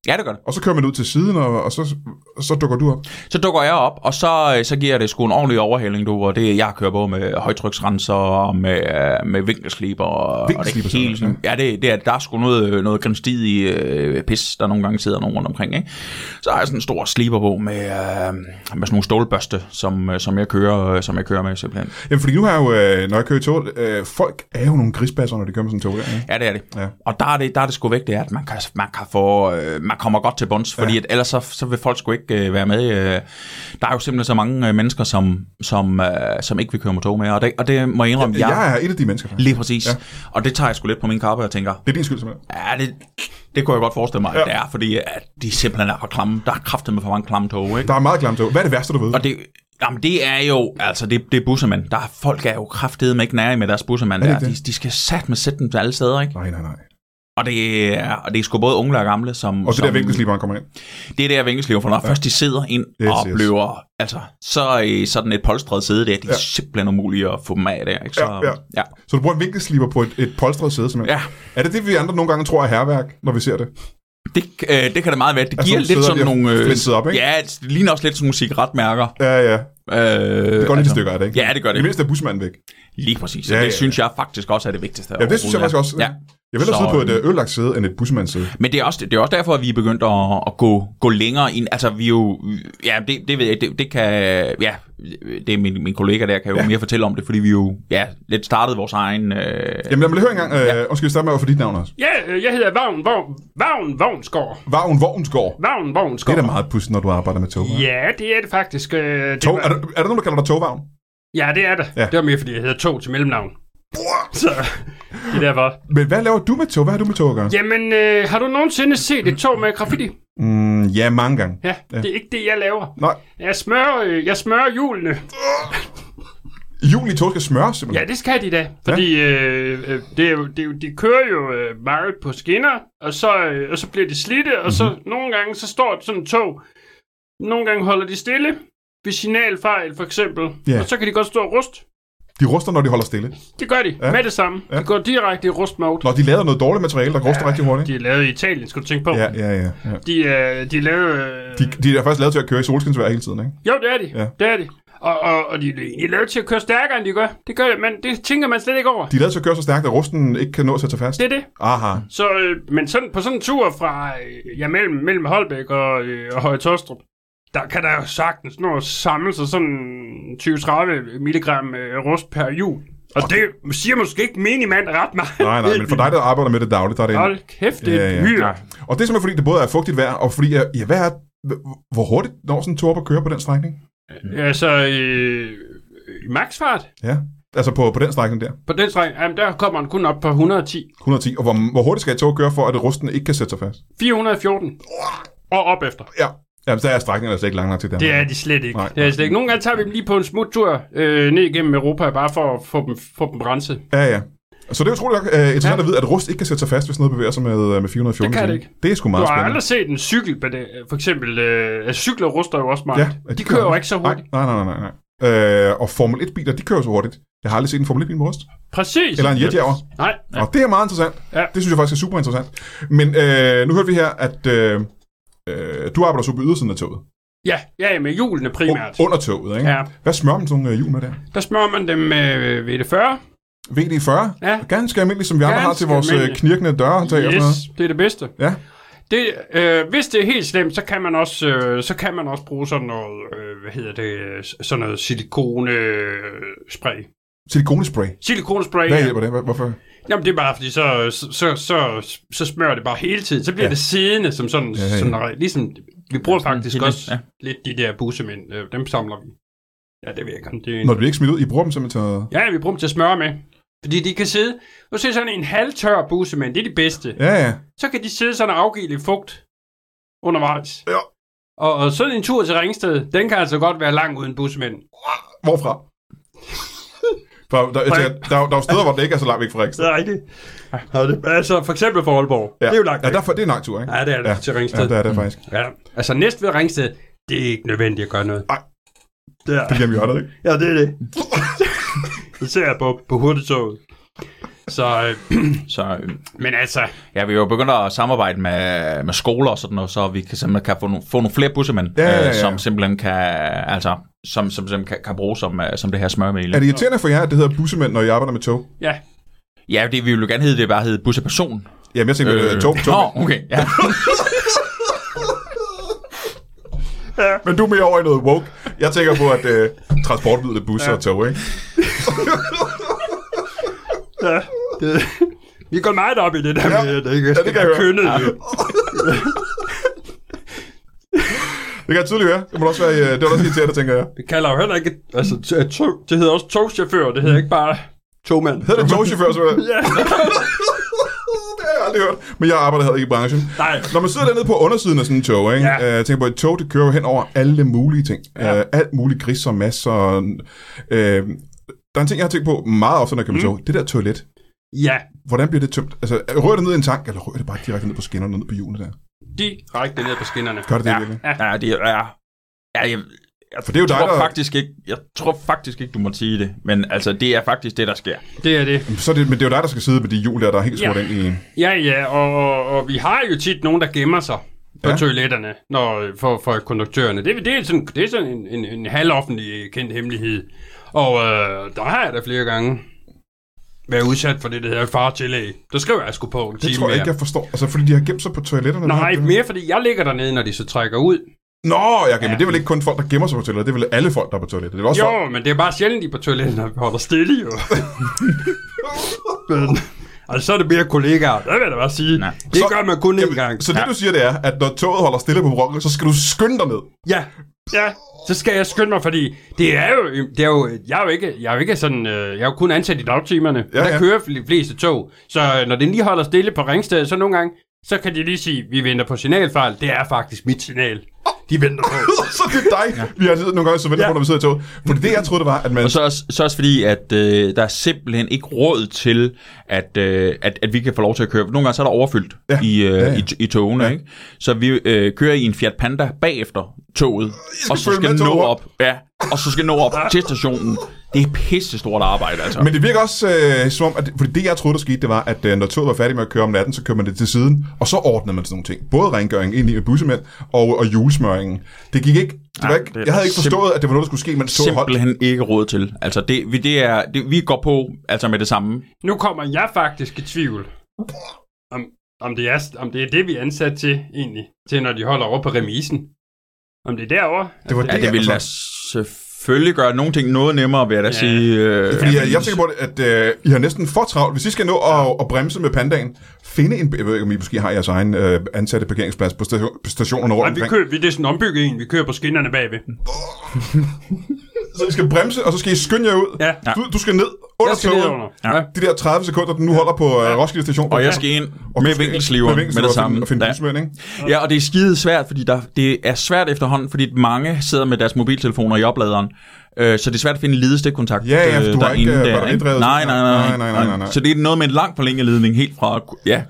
[SPEAKER 3] Ja, det gør det.
[SPEAKER 1] Og så kører man ud til siden, og, og så, og så dukker du op.
[SPEAKER 3] Så dukker jeg op, og så, øh, så giver jeg det sgu en ordentlig overhaling, du, og det jeg kører på med højtryksrenser og med, øh, med vinkelsliber. og-
[SPEAKER 1] Vinkelsliber,
[SPEAKER 3] og det hele, sådan, ja, det, det er, der er sgu noget, noget grinstidig øh, pis, der nogle gange sidder nogen rundt omkring. Ikke? Så har jeg sådan en stor sliber på med, øh, med sådan nogle stålbørste, som, øh, som, jeg kører, øh, som jeg kører med simpelthen.
[SPEAKER 1] Jamen, fordi nu har jeg jo, øh, når jeg kører i tog, øh, folk er jo nogle grisbasser, når de kører med sådan en tog der. Ikke?
[SPEAKER 3] Ja, det er det.
[SPEAKER 1] Ja.
[SPEAKER 3] Ja. Og der er det, der er det sgu væk, det er, at man, kan, man, kan få, øh, man kommer godt til bunds, fordi ja. at ellers så, så vil folk sgu ikke øh, være med. Øh. Der er jo simpelthen så mange øh, mennesker, som, som, øh, som ikke vil køre med tog med, og det, og det må jeg indrømme,
[SPEAKER 1] Ja.
[SPEAKER 3] ja,
[SPEAKER 1] Jeg
[SPEAKER 3] jeg
[SPEAKER 1] er et af de mennesker, faktisk.
[SPEAKER 3] lige præcis. Ja. Og det tager jeg sgu lidt på min kappe og tænker,
[SPEAKER 1] Det er din skyld, simpelthen.
[SPEAKER 3] ja, det, det kunne jeg godt forestille mig, ja.
[SPEAKER 1] Ja.
[SPEAKER 3] at det er, fordi at de simpelthen er for klamme. Der er kraftet med for mange klamme tog, ikke?
[SPEAKER 1] Der er meget klamt tog. Hvad er det værste, du ved?
[SPEAKER 3] Og det, jamen det er jo, altså det, det er bussermand. Der er, folk er jo kraftede med ikke nære med deres bussermand.
[SPEAKER 1] Er det
[SPEAKER 3] Der. De,
[SPEAKER 1] det?
[SPEAKER 3] de skal sat med sætte dem til alle steder, ikke?
[SPEAKER 1] Nej, nej, nej.
[SPEAKER 3] Og det er, og det er sgu både unge og gamle, som...
[SPEAKER 1] Og det
[SPEAKER 3] som,
[SPEAKER 1] der vinkelsliberen kommer ind.
[SPEAKER 3] Det er der vinkelslipper, for når ja. først de sidder ind
[SPEAKER 1] Yes,
[SPEAKER 3] yes, og
[SPEAKER 1] yes.
[SPEAKER 3] bliver... Altså, så er sådan et polstret sæde der, det er
[SPEAKER 1] Ja.
[SPEAKER 3] ja. simpelthen umuligt at få dem af der, ikke? Så,
[SPEAKER 1] Ja, ja.
[SPEAKER 3] ja.
[SPEAKER 1] Så du bruger en vinkelsliber på et, et polstret sæde, simpelthen?
[SPEAKER 3] Ja.
[SPEAKER 1] Er det det, vi andre nogle gange tror er herværk, når vi ser det?
[SPEAKER 3] Det, øh, det kan det meget være. Det
[SPEAKER 1] Altså,
[SPEAKER 3] giver
[SPEAKER 1] nogle
[SPEAKER 3] lidt
[SPEAKER 1] sæder
[SPEAKER 3] sådan
[SPEAKER 1] bliver
[SPEAKER 3] nogle... øh,
[SPEAKER 1] flænset op, ikke?
[SPEAKER 3] Ja, det ligner også lidt sådan nogle cigaretmærker.
[SPEAKER 1] Ja, ja.
[SPEAKER 3] Øh,
[SPEAKER 1] Det går lidt i stykker af det, ikke?
[SPEAKER 3] Ja, det gør
[SPEAKER 1] I
[SPEAKER 3] det.
[SPEAKER 1] mindst er busmanden væk.
[SPEAKER 3] Lige præcis.
[SPEAKER 1] Ja,
[SPEAKER 3] Ja, det
[SPEAKER 1] ja, ja.
[SPEAKER 3] synes jeg faktisk også er det vigtigste.
[SPEAKER 1] Ja, det synes jeg
[SPEAKER 3] overhovedet,
[SPEAKER 1] faktisk også.
[SPEAKER 3] Ja.
[SPEAKER 1] Jeg vil hellere
[SPEAKER 3] Så-
[SPEAKER 1] sidde på et øh, øllagt sæde, end et busmands sæde.
[SPEAKER 3] Men det er, også, det er også derfor, at vi er begyndt at, at gå, gå længere ind. Altså, vi er jo... Ja, det, det ved jeg, det, det kan... Ja, det er min, min kollega der, kan jo ja. mere fortælle om det, fordi vi jo ja, lidt startede vores egen... Øh,
[SPEAKER 1] Jamen lad mig lige høre engang. Øh, ja. Undskyld, starte med at få dit navn også.
[SPEAKER 5] Ja, øh, jeg hedder Vagn, Vagn, Vagn Vognsgaard.
[SPEAKER 1] Vagn Vognsgaard.
[SPEAKER 5] Vagn
[SPEAKER 1] Det
[SPEAKER 5] Vognsgaard.
[SPEAKER 1] er da meget pudsigt, når du arbejder med tog. hva'?
[SPEAKER 5] Ja, det er det faktisk. øh, Det
[SPEAKER 1] Tog,
[SPEAKER 5] var-
[SPEAKER 1] er, der, er der nogen, der kalder dig togvagn?
[SPEAKER 5] Ja, det er det.
[SPEAKER 1] Ja.
[SPEAKER 5] Ja. Det var mere, fordi jeg hedder Tog til mellemnavn. Så det er derfor.
[SPEAKER 1] Men hvad laver du med tog? Hvad har du med tog at gøre?
[SPEAKER 5] Jamen, øh, har du nogensinde set et tog med graffiti?
[SPEAKER 1] Mm, ja, mange gange.
[SPEAKER 5] Ja, ja, det er ikke det, jeg laver.
[SPEAKER 1] Nej,
[SPEAKER 5] Jeg smører, øh, jeg smører hjulene.
[SPEAKER 1] julen i tog skal smøres simpelthen.
[SPEAKER 5] Ja, det skal de da. Fordi øh, øh, det er jo, det er jo, de kører jo øh, meget på skinner, og så, øh, og så bliver de slidte, og mm-hmm. så
[SPEAKER 1] Mhm.
[SPEAKER 5] nogle gange så står sådan et tog. Nogle gange holder de stille ved signalfejl for eksempel,
[SPEAKER 1] Ja.
[SPEAKER 5] og så kan de godt stå og rust.
[SPEAKER 1] De ruster, når de holder stille.
[SPEAKER 5] Det gør de
[SPEAKER 1] Ja.
[SPEAKER 5] ja. med det samme. Ja. De går direkte i rustmode.
[SPEAKER 1] Når de laver noget dårligt materiale, der ruster ja, rigtig hurtigt.
[SPEAKER 5] De er lavet i Italien, skal du tænke på.
[SPEAKER 1] Ja,
[SPEAKER 5] Ja.
[SPEAKER 1] ja, ja. ja.
[SPEAKER 5] De, er, de er lavet... Øh...
[SPEAKER 1] De, de er faktisk lavet til at køre i solskinsvejr hele tiden, ikke?
[SPEAKER 5] Jo, det er de.
[SPEAKER 1] Ja.
[SPEAKER 5] Ja. Det er de. Og, og, og de er egentlig lavet til at køre stærkere, end de gør. Det, gør man, det tænker man slet ikke over.
[SPEAKER 1] De er lavet til at køre så stærkt, at rusten ikke kan nå at sætte sig fast.
[SPEAKER 5] Det er det.
[SPEAKER 1] Aha.
[SPEAKER 5] Så, øh, men sådan, på sådan en tur fra øh, ja, mellem, mellem Holbæk og, øh, og Høje Tostrup, der kan der jo sagtens nå at samle sig sådan 20-30 milligram øh, rust per hjul. Og det siger måske ikke minimand ret meget.
[SPEAKER 1] Nej, nej, men for dig, der arbejder med det dagligt, der er det en,
[SPEAKER 5] Hold kæft, det er
[SPEAKER 1] Ja, ja.
[SPEAKER 5] ja, ja.
[SPEAKER 1] Og det er simpelthen fordi, det både er fugtigt vejr, og fordi, øh, ja, hvad er, h- hvor hurtigt når sådan en tur op at køre på den strækning?
[SPEAKER 5] Altså, øh, i maksfart
[SPEAKER 1] Ja. Altså på, på den strækning der,
[SPEAKER 5] på den stræk, jamen, der kommer den kun op på 110.
[SPEAKER 1] 110. Og hvor, hvor hurtigt skal et tog køre, for at rusten ikke kan sætte sig fast?
[SPEAKER 5] 414. Og op efter.
[SPEAKER 1] Ja. Jamen, der er strækningen altså ikke lang nok til Danmark.
[SPEAKER 5] Det er de slet ikke.
[SPEAKER 1] Nej.
[SPEAKER 5] Nej, det er de slet ikke. Nogle gange tager vi dem lige på en smuttur øh, ned igennem Europa, bare for at få dem, få dem renset.
[SPEAKER 1] Ja, ja. Så det er utroligt nok uh, interessant ja. at vide, at rust ikke kan sætte sig fast, hvis noget bevæger sig med, øh, med 414.
[SPEAKER 5] Det kan det
[SPEAKER 1] timer. Det er sgu
[SPEAKER 5] Du
[SPEAKER 1] meget
[SPEAKER 5] har
[SPEAKER 1] spændende.
[SPEAKER 5] aldrig set en cykel, men det- for eksempel, øh, altså cykler ruster jo også meget.
[SPEAKER 1] Ja,
[SPEAKER 5] Ja,
[SPEAKER 1] ja,
[SPEAKER 5] de, de kører jo
[SPEAKER 1] også.
[SPEAKER 5] ikke så hurtigt.
[SPEAKER 1] Nej, nej, nej, nej. nej. Øh, og Formel 1-biler, de kører jo så hurtigt. Jeg har aldrig set en Formel 1-bil med rust.
[SPEAKER 5] Præcis.
[SPEAKER 1] Eller en jetjager.
[SPEAKER 5] Nej,
[SPEAKER 1] Ja. Og det er meget interessant.
[SPEAKER 5] Ja.
[SPEAKER 1] Det synes jeg faktisk er super interessant. Men øh, nu hørte vi her, at øh, øh, du arbejder så på ydersiden af toget.
[SPEAKER 5] ja, ja, med hjulene primært.
[SPEAKER 1] U- under toget, ikke?
[SPEAKER 5] Ja,
[SPEAKER 1] Hvad smører man sådan nogle øh, hjul med der?
[SPEAKER 5] der smører man dem med øh, VD40.
[SPEAKER 1] VD40?
[SPEAKER 5] Ja,
[SPEAKER 1] Ganske almindeligt, som vi andre har
[SPEAKER 5] Ganske
[SPEAKER 1] til vores øh,
[SPEAKER 5] almindeligt.
[SPEAKER 1] knirkende dørhåndtag og sådan noget.
[SPEAKER 5] yes, det er det bedste.
[SPEAKER 1] Ja.
[SPEAKER 5] Det, øh, hvis det er helt slemt, så kan man også, øh, så kan man også bruge sådan noget, øh, hvad hedder det, øh, sådan noget silikone øh, spray.
[SPEAKER 1] Silikonespray.
[SPEAKER 5] Silikonespray.
[SPEAKER 1] Hvad
[SPEAKER 5] ja.
[SPEAKER 1] hjælper det? Hvor- Hvorfor?
[SPEAKER 5] Jamen det er bare fordi så så så så, så smører det bare hele tiden. Så bliver
[SPEAKER 1] Ja.
[SPEAKER 5] ja. det siddende som sådan
[SPEAKER 1] Ja, ja, ja.
[SPEAKER 5] ja, ja. sådan ligesom vi bruger faktisk
[SPEAKER 3] hende,
[SPEAKER 5] også
[SPEAKER 3] ja.
[SPEAKER 5] ja. lidt de der bussemænd. Øh, dem samler vi. Ja, det ved jeg ikke. om Det er en...
[SPEAKER 1] Når det bliver ikke smidt ud, I bruger dem simpelthen til...
[SPEAKER 5] Ja, vi bruger dem til at smøre med. Fordi de kan sidde, nu ser sådan en halvtør bussemænd, det er de bedste. Ja.
[SPEAKER 1] Ja, ja.
[SPEAKER 5] Så kan de sidde sådan og afgive lidt fugt undervejs.
[SPEAKER 1] Ja.
[SPEAKER 5] Og, og sådan en tur til Ringsted, den kan altså godt være lang uden bussemænd.
[SPEAKER 1] Hvorfra? For der, der, der, der, er jo steder, hvor det ikke er så langt væk fra Ringsted.
[SPEAKER 5] er rigtigt. Altså for eksempel for Aalborg.
[SPEAKER 1] Ja.
[SPEAKER 5] Det er jo langt.
[SPEAKER 1] Ja,
[SPEAKER 5] væk.
[SPEAKER 1] derfor, det er en lang tur, ikke?
[SPEAKER 5] Ja, det er det
[SPEAKER 1] Ja.
[SPEAKER 5] til Ringsted.
[SPEAKER 1] Ja, det er det faktisk.
[SPEAKER 5] Ja, altså næst ved Ringsted, det er ikke nødvendigt at gøre noget.
[SPEAKER 1] Nej.
[SPEAKER 5] Der.
[SPEAKER 1] Det er hjemme i hjørnet, ikke?
[SPEAKER 5] Ja, det er det. det ser jeg på, på hurtigtoget. Så, øh,
[SPEAKER 3] Så øh,
[SPEAKER 5] men altså,
[SPEAKER 3] ja, vi er jo begyndt at samarbejde med, med skoler og sådan noget, så vi kan simpelthen kan få, nogle, få nogle flere bussemænd,
[SPEAKER 1] Ja, ja, ja.
[SPEAKER 3] øh, som simpelthen kan, altså, som, som simpelthen kan, kan bruge som, øh, som det her smørmel.
[SPEAKER 1] Er det irriterende for jer, at det hedder bussemænd, når I arbejder med tog?
[SPEAKER 5] ja,
[SPEAKER 3] Ja, det vi ville jo gerne hedde, det bare hedde busseperson.
[SPEAKER 1] Jamen, jeg tænker, øh, tog, tog.
[SPEAKER 3] Nå, okay. Ja.
[SPEAKER 1] Men du er mere over i noget woke. Jeg tænker på, at øh, transportmidlet busser ja. og tog, ikke?
[SPEAKER 5] ja det, vi går meget op i det der
[SPEAKER 1] Ja.
[SPEAKER 5] med, at det ikke
[SPEAKER 1] Ja, det
[SPEAKER 5] skal
[SPEAKER 1] kan jeg
[SPEAKER 5] være
[SPEAKER 1] høre.
[SPEAKER 5] kønnet. Ja.
[SPEAKER 1] Det kan jeg tydeligt høre. Det må også være, øh, det var også irriterende, tænker jeg.
[SPEAKER 5] Vi kalder jo heller ikke, altså, t- øh, tog, det hedder også togchauffør, det hedder ikke bare togmand.
[SPEAKER 1] Hedder det togchauffør, så
[SPEAKER 5] Ja,
[SPEAKER 1] det har jeg aldrig hørt. Men jeg arbejder heller ikke i branchen.
[SPEAKER 5] nej.
[SPEAKER 1] Når man sidder dernede på undersiden af sådan en tog, ikke? Ja.
[SPEAKER 5] Ja.
[SPEAKER 1] Øh, tænker på, at et tog, det kører jo hen over alle mulige ting. Ja. Øh, alt muligt gris og masser. og, Øh, der er en ting, jeg har tænkt på meget ofte, når jeg kører mm. tog. Det der toilet.
[SPEAKER 5] Ja,
[SPEAKER 1] Hvordan bliver det tømt? Altså, rører det ned i en tank, eller rører det bare direkte ned på skinnerne, ned på hjulene der?
[SPEAKER 5] direkte ned på skinnerne.
[SPEAKER 1] Gør det det,
[SPEAKER 3] Ja.
[SPEAKER 1] virkelig?
[SPEAKER 3] Ja, det er... Ja, jeg, jeg,
[SPEAKER 1] For det er jo dig,
[SPEAKER 3] tror
[SPEAKER 1] der-
[SPEAKER 3] faktisk ikke, jeg tror faktisk ikke, du må sige det, men altså, det er faktisk det, der sker.
[SPEAKER 5] Det er det.
[SPEAKER 1] Jamen, Så er det, men det er jo dig, der skal sidde med de hjul der, der er helt smurt
[SPEAKER 5] Ja.
[SPEAKER 1] ind i...
[SPEAKER 5] Ja, ja, og, og, og vi har jo tit nogen, der gemmer sig på
[SPEAKER 1] Ja.
[SPEAKER 5] ja. toiletterne når, for, for konduktørerne. Det, det er sådan, det er sådan en, en, en halvoffentlig kendt hemmelighed. Og øh, der har jeg da flere gange været udsat for det, der hedder fartillæg. Der skriver jeg sgu på en
[SPEAKER 1] Det
[SPEAKER 5] time
[SPEAKER 1] tror jeg ikke,
[SPEAKER 5] mere.
[SPEAKER 1] jeg forstår. Altså, fordi de har gemt sig på toiletterne.
[SPEAKER 5] Nej,
[SPEAKER 1] det-
[SPEAKER 5] mere fordi jeg ligger dernede, når de så trækker ud.
[SPEAKER 1] Nå, ja, okay, men det er vel ikke kun folk, der gemmer sig på toilettet. Det er vel alle folk, der er på toilettet. Det er vel også folk...
[SPEAKER 5] Jo, men det er bare sjældent, de er på toilettet, når vi holder stille, jo. men, altså, så er det mere kollegaer. Det vil jeg da bare sige.
[SPEAKER 3] Nej.
[SPEAKER 5] Det
[SPEAKER 1] Så-
[SPEAKER 5] gør man kun én gang.
[SPEAKER 1] Så det, du siger, det er, at når toget holder stille på brokken, så skal du skynde dig ned.
[SPEAKER 5] Ja, ja. Så skal jeg skynde mig, fordi det er jo, det er jo, jeg er jo ikke, jeg er jo ikke sådan, øh, jeg er jo kun ansat i dagtimerne.
[SPEAKER 1] Ja,
[SPEAKER 5] Ja, der
[SPEAKER 1] ja.
[SPEAKER 5] ja. kører de fleste tog, så øh, når den lige holder stille på Ringsted, så nogle gange, så kan de lige sige, vi venter på signalfejl. Det er faktisk mit signal. De venter på.
[SPEAKER 1] så det er dig, ja. vi har siddet nogle gange, så venter på,
[SPEAKER 5] Ja.
[SPEAKER 1] når vi sidder i toget. Fordi det, jeg troede, det var, at man...
[SPEAKER 3] Og så også, så også fordi, at øh, der er simpelthen ikke råd til, at, øh, at, at vi kan få lov til at køre. Nogle gange så er der overfyldt
[SPEAKER 1] Ja.
[SPEAKER 3] ja. i, øh, ja,
[SPEAKER 1] ja.
[SPEAKER 3] ja. i, i togene, ja. ikke? Så vi øh, kører i en Fiat Panda bagefter toget, og så
[SPEAKER 1] følge
[SPEAKER 3] skal
[SPEAKER 1] med
[SPEAKER 3] nå
[SPEAKER 1] toget.
[SPEAKER 3] op. Ja, og så skal nå op til stationen. Det er pisse stort arbejde, altså.
[SPEAKER 1] Men det virker også øh, som om, at, fordi det jeg troede, der skete, det var, at øh, når toget var færdigt med at køre om natten, så kører man det til siden, og så ordnede man sådan nogle ting. Både rengøring ind i med bussemænd og, og julesmøringen. Det gik ikke. Det var
[SPEAKER 3] Nej,
[SPEAKER 1] ikke
[SPEAKER 3] det er
[SPEAKER 1] jeg havde ikke
[SPEAKER 3] sim-
[SPEAKER 1] forstået, at det var noget, der skulle ske, mens toget holdt.
[SPEAKER 3] simpelthen ikke råd til. Altså, det, vi, det er, det, vi går på altså med det samme.
[SPEAKER 5] Nu kommer jeg faktisk i tvivl, om, om, det er, om det er det, vi er ansat til egentlig, til når de holder over på remisen. Om det er derovre.
[SPEAKER 1] Det altså. var
[SPEAKER 3] Ja, det vil da selvfølgelig gøre nogle ting noget nemmere, vil jeg da
[SPEAKER 5] Ja.
[SPEAKER 3] sige. Øh,
[SPEAKER 1] Fordi jeg, jeg tænker på, det, at øh, I har næsten for travlt. Hvis I skal nå at, at bremse med pandaen, finde en... Jeg ved ikke, om I måske har jeres egen øh, ansatte parkeringsplads på, station, på stationerne rundt
[SPEAKER 5] Nej, vi
[SPEAKER 1] omkring.
[SPEAKER 5] kører, vi, det er sådan ombygget en, vi kører på skinnerne bagved.
[SPEAKER 1] Så I skal bremse, og så skal I skynde jer ud.
[SPEAKER 5] Ja.
[SPEAKER 1] Du, du skal ned, under
[SPEAKER 5] Jeg skal ned
[SPEAKER 1] toget.
[SPEAKER 5] under.
[SPEAKER 1] De der 30 sekunder, den nu holder på øh, Roskilde station.
[SPEAKER 3] Og jeg skal ind med vinkelsliver med det samme.
[SPEAKER 1] Og finde
[SPEAKER 3] Ja.
[SPEAKER 1] busmænd, ikke?
[SPEAKER 3] Ja, og det er skide svært, fordi der, det er svært efterhånden, fordi mange sidder med deres mobiltelefoner i opladeren. Øh, så det er svært at finde en ledestikkontakt
[SPEAKER 1] Ja, ja, for du har
[SPEAKER 3] derinde
[SPEAKER 1] ikke, øh,
[SPEAKER 3] der,
[SPEAKER 1] batteridrevet-
[SPEAKER 3] ikke? Nej, nej, nej, nej, nej, nej,
[SPEAKER 1] nej.
[SPEAKER 3] Så det er noget med en lang forlængeledning helt fra, ja,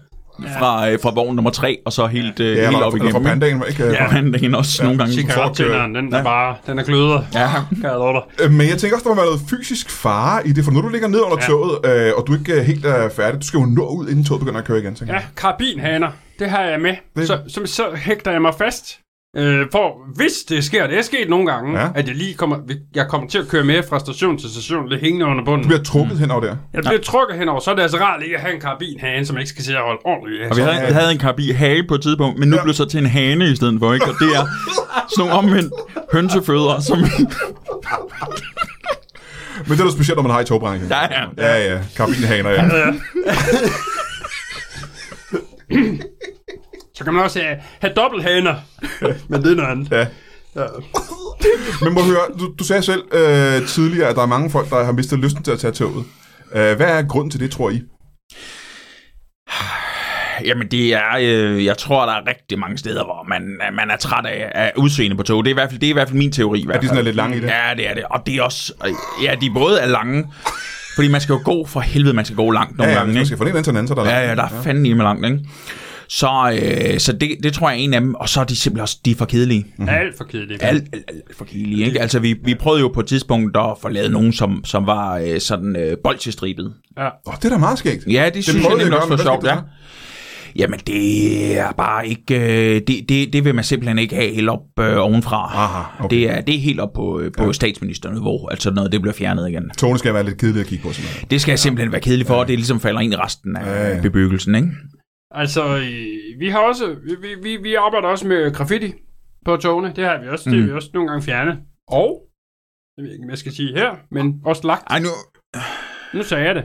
[SPEAKER 3] fra, øh, fra vogn nummer 3, og så helt, øh,
[SPEAKER 1] Ja,
[SPEAKER 3] helt
[SPEAKER 1] eller,
[SPEAKER 3] op
[SPEAKER 1] eller
[SPEAKER 3] igennem.
[SPEAKER 1] fra pandaen, var ikke? Øh,
[SPEAKER 3] Ja,
[SPEAKER 1] Ja.
[SPEAKER 3] pandaen også nogle gange.
[SPEAKER 5] Cigarettænderen, den er bare, den er gløder.
[SPEAKER 3] Ja.
[SPEAKER 5] Kan jeg love dig.
[SPEAKER 1] øh, Men jeg tænker også, der må være noget fysisk fare i det, for når du ligger ned under ja. toget, øh, og du ikke er helt er færdig, du skal jo nå ud, inden toget begynder at køre igen, tænker
[SPEAKER 5] Ja,
[SPEAKER 1] jeg.
[SPEAKER 5] karabinhaner. Det har jeg med.
[SPEAKER 1] Det-
[SPEAKER 5] Så, så, så hægter jeg mig fast. Øh, for hvis det sker, det er sket nogle gange,
[SPEAKER 1] Ja.
[SPEAKER 5] ja. at jeg lige kommer, jeg kommer til at køre med fra station til station, lidt hængende under
[SPEAKER 1] Du
[SPEAKER 5] bunden.
[SPEAKER 1] bliver trukket mm. henover der.
[SPEAKER 5] Jeg bliver trukket henover, så er det altså rart lige at have en karabinhane, som jeg ikke skal sidde og holde ordentligt. af.
[SPEAKER 3] Og vi havde, vi havde en karabi hage på et tidspunkt, men nu
[SPEAKER 1] Ja.
[SPEAKER 3] blev det så til en hane i stedet for, ikke? Og det er sådan nogle omvendt hønsefødder, som...
[SPEAKER 1] Men det er noget specielt, når man har i togbranchen.
[SPEAKER 3] Ja, ja.
[SPEAKER 1] Ja, ja. Karabinhaner, ja.
[SPEAKER 5] Så kan man også have, have dobbelthaner. Men det er noget andet.
[SPEAKER 1] ja. Men må jeg høre, du, du sagde selv øh, tidligere, at der er mange folk, der har mistet lysten til at tage toget. Øh, hvad er grunden til det, tror I?
[SPEAKER 3] Jamen det er, øh, jeg tror, der er rigtig mange steder, hvor man, øh, man er træt af, af udseende på tog. Det er i hvert fald, det er i hvert fald min teori. I hvert
[SPEAKER 1] de sådan
[SPEAKER 3] fald.
[SPEAKER 1] er lidt lange i det?
[SPEAKER 3] Ja, det er det. Og det er også, ja, de både er lange, fordi man skal jo gå for helvede, man skal gå langt nogle
[SPEAKER 1] ja, ja, hvis
[SPEAKER 3] gange.
[SPEAKER 1] man
[SPEAKER 3] ikke?
[SPEAKER 1] skal få den ene til den anden, så er der
[SPEAKER 3] Ja, ja, der er ja. fanden i med langt, ikke? Så, øh, så det, det tror jeg er en af dem. Og så er de simpelthen også, de er for kedelige.
[SPEAKER 5] Alt for kedeligt.
[SPEAKER 3] Alt, alt, alt for kedelige, ikke? Altså, vi, vi prøvede jo på et tidspunkt at få lavet nogen, som, som var øh, sådan øh, bolsjestribet.
[SPEAKER 1] Åh, det er da meget skægt.
[SPEAKER 3] Ja, det, det synes jeg
[SPEAKER 1] prøvede
[SPEAKER 3] nemlig
[SPEAKER 1] jeg
[SPEAKER 3] også var
[SPEAKER 1] godt, men
[SPEAKER 3] sjovt,
[SPEAKER 1] hvad
[SPEAKER 3] ja. Jamen, det er bare ikke... øh, Det, det, det vil man simpelthen ikke have helt op øh, ovenfra.
[SPEAKER 1] Aha, okay.
[SPEAKER 3] det, er, det er helt op på, øh, på ja. statsministerniveau, altså noget, det bliver fjernet igen.
[SPEAKER 1] Togene skal være lidt kedelige at kigge på, simpelthen.
[SPEAKER 3] Det skal simpelthen være kedeligt for, og det ligesom falder ind i resten af
[SPEAKER 1] Ja, ja.
[SPEAKER 3] bebyggelsen, ikke?
[SPEAKER 5] Altså, øh, vi har også, vi, vi, vi arbejder også med graffiti på togene. Det har vi også.
[SPEAKER 1] Mm.
[SPEAKER 5] Det har vi også nogle gange fjernet. Og, det ved jeg ikke, hvad jeg skal sige her, men også lagt.
[SPEAKER 3] Ej, nu...
[SPEAKER 5] Nu sagde jeg det.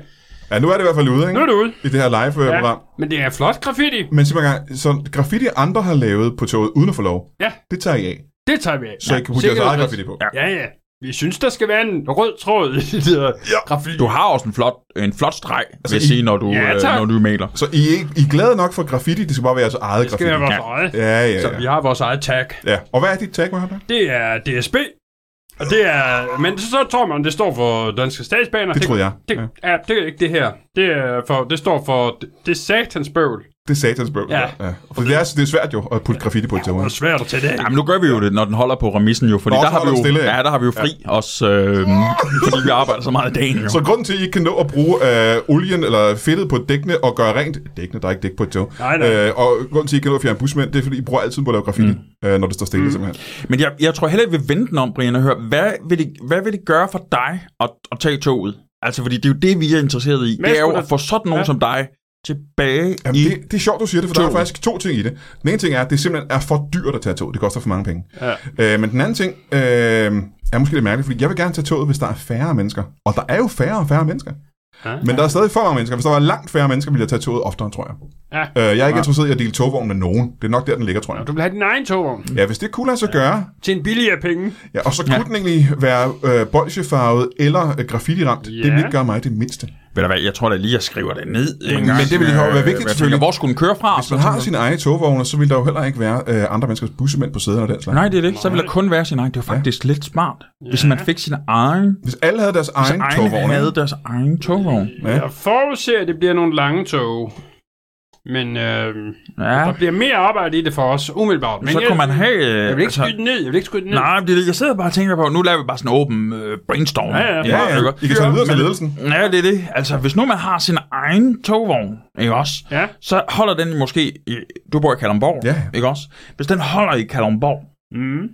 [SPEAKER 1] Ja, nu er det i hvert fald ude,
[SPEAKER 5] Nu
[SPEAKER 1] ikke?
[SPEAKER 5] er det ude.
[SPEAKER 1] I det her live-program.
[SPEAKER 5] Men det er flot graffiti.
[SPEAKER 1] Men sig mig engang, så graffiti andre har lavet på toget uden at få lov,
[SPEAKER 5] Ja.
[SPEAKER 1] det tager I af.
[SPEAKER 5] Det tager vi af.
[SPEAKER 1] Så I kan putte jeres eget graffiti på.
[SPEAKER 3] Ja.
[SPEAKER 5] Ja, ja. Vi synes, der skal være en rød tråd i det der
[SPEAKER 1] Ja.
[SPEAKER 5] graffiti.
[SPEAKER 3] Du har også en flot, en flot streg, altså, vil jeg
[SPEAKER 1] I-
[SPEAKER 3] sige, når du,
[SPEAKER 5] Ja,
[SPEAKER 3] øh,
[SPEAKER 5] tak.
[SPEAKER 3] når du maler.
[SPEAKER 1] Så I, er ikke- I er glade nok for graffiti, det skal bare være jeres eget
[SPEAKER 5] Det skal
[SPEAKER 1] graffiti.
[SPEAKER 5] være vores
[SPEAKER 3] Ja.
[SPEAKER 5] eget.
[SPEAKER 1] Ja, ja,
[SPEAKER 5] Så
[SPEAKER 1] ja.
[SPEAKER 5] vi har vores eget tag.
[SPEAKER 1] ja. Og hvad er dit tag, Mohammed?
[SPEAKER 5] Det er DSB. Og det er... Men så tror man, det står for Danske Statsbaner.
[SPEAKER 1] Det troede jeg.
[SPEAKER 5] Det,
[SPEAKER 1] Ja.
[SPEAKER 5] ja. det er ikke det her. Det, er for, det står for... Det, det er satans bøvl.
[SPEAKER 1] Det er satans bøvl.
[SPEAKER 5] Ja.
[SPEAKER 1] For det er, altså- det er svært jo at putte graffiti på et tog.
[SPEAKER 5] Det er svært at tage det af.
[SPEAKER 3] Jamen, nu gør vi jo det, når den holder på remissen jo, fordi
[SPEAKER 1] Nå,
[SPEAKER 3] Nå,
[SPEAKER 1] så
[SPEAKER 3] der har vi
[SPEAKER 1] holder
[SPEAKER 3] jo,
[SPEAKER 1] den stille, ja.
[SPEAKER 3] ja, der har vi jo fri også, øh, fordi vi arbejder så meget i dagen. Jo.
[SPEAKER 1] Så grunden til, at I ikke kan nå at bruge øh, olien eller fedtet på dækkene og gøre rent... Dækkene, der er ikke dæk på et tog.
[SPEAKER 5] Nej, nej.
[SPEAKER 1] Øh, og grunden til, at I ikke kan nå at fjerne busmænd, det er, fordi I bruger altid på at lave graffiti, mm. øh, når det står stille, mm. simpelthen.
[SPEAKER 3] Men jeg, jeg tror heller ikke, vi vil vente den om, Brian, og høre, hvad vil det, hvad vil det gøre for dig at, at tage toget? Altså, fordi det er jo det, vi er interesseret i.
[SPEAKER 5] Men
[SPEAKER 3] det er jo
[SPEAKER 5] skulle
[SPEAKER 3] at
[SPEAKER 5] der-
[SPEAKER 3] få sådan nogen ja.
[SPEAKER 5] Ja.
[SPEAKER 3] som dig tilbage
[SPEAKER 1] Jamen,
[SPEAKER 3] i...
[SPEAKER 1] det, det er sjovt, du siger det, for der er
[SPEAKER 3] Toget.
[SPEAKER 1] faktisk to ting i det. Den ene ting er, at det simpelthen er for dyrt at tage tog. Det koster for mange penge.
[SPEAKER 5] Ja.
[SPEAKER 1] Øh, men den anden ting øh, er måske lidt mærkeligt, fordi jeg vil gerne tage toget, hvis der er færre mennesker. Og der er jo færre og færre mennesker.
[SPEAKER 5] Ja.
[SPEAKER 1] Men der er stadig for mange mennesker. Hvis der var langt færre mennesker, ville jeg tage toget oftere, tror jeg.
[SPEAKER 5] Ja.
[SPEAKER 1] Øh, jeg er ikke interesseret i at dele togvognen med nogen. Det er nok der, den ligger, tror jeg.
[SPEAKER 5] Du vil have din egen togvogn.
[SPEAKER 1] Ja, hvis det kunne lade sig gøre.
[SPEAKER 5] Til en billigere penge.
[SPEAKER 1] Ja, og så kunne den egentlig være øh, bolsjefarvet eller øh, graffiti-ramt. Det
[SPEAKER 5] Ja.
[SPEAKER 1] ville gøre mig det mindste.
[SPEAKER 3] Ved du hvad, jeg tror da lige, jeg skriver det ned. en
[SPEAKER 1] Men
[SPEAKER 3] gang.
[SPEAKER 1] det ville jo være
[SPEAKER 3] Øh,
[SPEAKER 1] vigtigt,
[SPEAKER 3] hvad tænker,
[SPEAKER 1] selvfølgelig.
[SPEAKER 3] Hvor skulle den køre fra?
[SPEAKER 1] Hvis man har sine egne togvogne, så ville der jo heller ikke være øh, andre menneskers bussemænd på sæderne og den slags.
[SPEAKER 3] Nej, det er det ikke. Så ville der kun være sin egen. Det var faktisk lidt smart, hvis man fik sin egen,
[SPEAKER 1] Hvis alle havde deres egen
[SPEAKER 3] egen
[SPEAKER 1] togvogne,
[SPEAKER 3] havde deres egen togvogn.
[SPEAKER 1] Ja.
[SPEAKER 5] Ja. Jeg forudser, at det bliver nogle lange tog. Men øh,
[SPEAKER 3] Ja,
[SPEAKER 5] der bliver mere arbejde i det for os, umiddelbart. Men
[SPEAKER 3] så
[SPEAKER 5] jeg,
[SPEAKER 3] kunne man have... øh,
[SPEAKER 5] Jeg vil ikke
[SPEAKER 3] altså-
[SPEAKER 5] skyde den ned. Jeg vil ikke skyde den ned.
[SPEAKER 3] Nej, men det, er det, jeg sidder bare og tænker på, nu laver vi bare sådan en åben øh, brainstorm.
[SPEAKER 5] Ja, ja.
[SPEAKER 1] Ja, ja,
[SPEAKER 3] ikke?
[SPEAKER 1] I kan tage videre til ledelsen.
[SPEAKER 3] Ja, det er det. Altså, hvis nu man har sin egen togvogn, ikke også?
[SPEAKER 5] Ja.
[SPEAKER 3] Så holder den måske... I, du bor i Kalundborg,
[SPEAKER 1] Ja.
[SPEAKER 3] ikke også? Hvis den holder i Kalundborg,
[SPEAKER 5] Mm.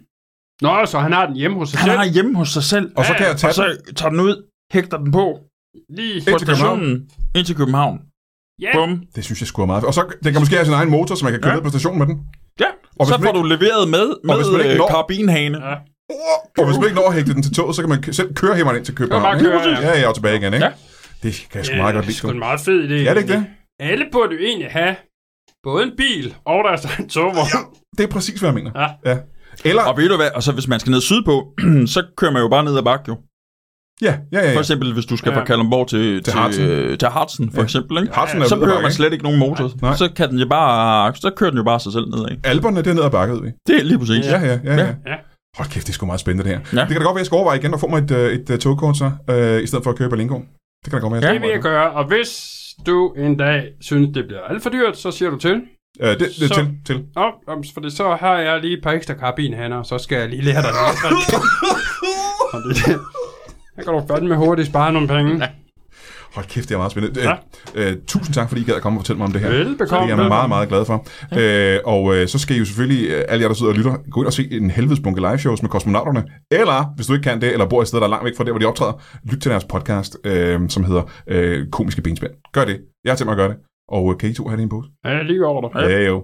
[SPEAKER 5] Nå, så han har den hjemme hos sig
[SPEAKER 3] han
[SPEAKER 5] selv.
[SPEAKER 3] har hjemme hos sig selv,
[SPEAKER 1] Og så
[SPEAKER 5] Ja,
[SPEAKER 1] kan
[SPEAKER 5] ja.
[SPEAKER 1] jeg tage
[SPEAKER 3] og så tager den ud, hægter den på
[SPEAKER 5] Lige.
[SPEAKER 3] på
[SPEAKER 1] Ind til København.
[SPEAKER 3] stationen ind til København.
[SPEAKER 5] Ja,
[SPEAKER 3] Øh, Bum.
[SPEAKER 1] den. Det synes jeg skulle meget. Og så den kan måske have sin egen motor, så man kan køre
[SPEAKER 3] Ja.
[SPEAKER 1] ja. ned på stationen med den.
[SPEAKER 3] Ja,
[SPEAKER 1] Og
[SPEAKER 3] og
[SPEAKER 1] hvis
[SPEAKER 3] så
[SPEAKER 1] man
[SPEAKER 3] får du leveret med,
[SPEAKER 1] hvis
[SPEAKER 3] med
[SPEAKER 1] man ikke
[SPEAKER 3] øh,
[SPEAKER 1] når-
[SPEAKER 3] karabinhane. Ja.
[SPEAKER 5] Ja.
[SPEAKER 1] Og hvis man ikke når at hægte den til toget, så kan man k- selv køre hæmmeren ind til København.
[SPEAKER 5] bare køre, Uh, ja.
[SPEAKER 1] ja. ja, og tilbage igen, ikke?
[SPEAKER 3] Ja.
[SPEAKER 1] Ja. Det kan jeg sgu
[SPEAKER 5] Ja,
[SPEAKER 1] meget godt
[SPEAKER 5] det er
[SPEAKER 1] lide.
[SPEAKER 5] sgu en meget fed idé.
[SPEAKER 1] Ja, det er ikke det.
[SPEAKER 5] Alle burde jo egentlig have både en bil og deres egen togvogn.
[SPEAKER 1] Ja, det er præcis, hvad jeg mener.
[SPEAKER 5] Ja.
[SPEAKER 1] ja. Eller,
[SPEAKER 3] altså, Og ved du hvad, og så hvis man skal ned sydpå, så kører man jo bare ned ad bakke jo.
[SPEAKER 1] Ja, ja, ja.
[SPEAKER 3] For
[SPEAKER 1] ja.
[SPEAKER 3] eksempel, hvis du skal fra
[SPEAKER 5] Ja.
[SPEAKER 3] Kalundborg til, til,
[SPEAKER 1] Harzen.
[SPEAKER 3] øh, til Hartsen, for ja. eksempel, ikke?
[SPEAKER 1] Harzen er
[SPEAKER 3] så
[SPEAKER 1] ude af
[SPEAKER 3] behøver
[SPEAKER 1] bakke,
[SPEAKER 3] man slet ikke nogen motor.
[SPEAKER 1] Nej.
[SPEAKER 3] Så, kan den jo bare, så kører den jo bare sig selv nedad.
[SPEAKER 1] Alberne dernede ad bakke, ved vi.
[SPEAKER 3] Det er lige præcis.
[SPEAKER 1] Ja, ja, ja. ja.
[SPEAKER 3] Ja.
[SPEAKER 1] ja.
[SPEAKER 5] Ja.
[SPEAKER 1] Hold kæft, det er sgu meget spændende det her.
[SPEAKER 3] Ja.
[SPEAKER 1] Ja. Det kan da godt være, at jeg skal overveje igen og få mig et, øh, et, et togkort så, øh, i stedet for at købe Berlingo. Det kan da godt være, at jeg
[SPEAKER 5] Det vil jeg gøre, og hvis du en dag synes, det bliver alt for dyrt, så siger du til.
[SPEAKER 1] gøre. Øh, det, det,
[SPEAKER 5] Så-
[SPEAKER 1] til, til.
[SPEAKER 5] Nå, jamen, fordi så har jeg lige et par ekstra karabinhander, og så skal jeg lige lære dig noget. Og det- Der kan du fandme hurtigt spare nogle penge.
[SPEAKER 1] Hold kæft, det er meget spændende. Ja.
[SPEAKER 5] Ja.
[SPEAKER 1] Øh, øh, tusind tak, fordi I gad at komme og fortælle mig om det her.
[SPEAKER 5] Velbekomme.
[SPEAKER 1] Det er jeg meget, meget glad for. Øh, og øh, så skal I jo selvfølgelig, øh, alle jer, der sidder og lytter, gå ind og se en helvedes bunke live shows med kosmonauterne. Eller, hvis du ikke kan det, eller bor et sted, der er langt væk fra der, hvor de optræder, lyt til deres podcast, øh, som hedder øh, Komiske Benspænd. Gør det. Jeg har tænkt mig at gøre det. Og øh, kan I to have det i en pose?
[SPEAKER 5] Ja, jeg er lige over dig.
[SPEAKER 1] Ja, jo.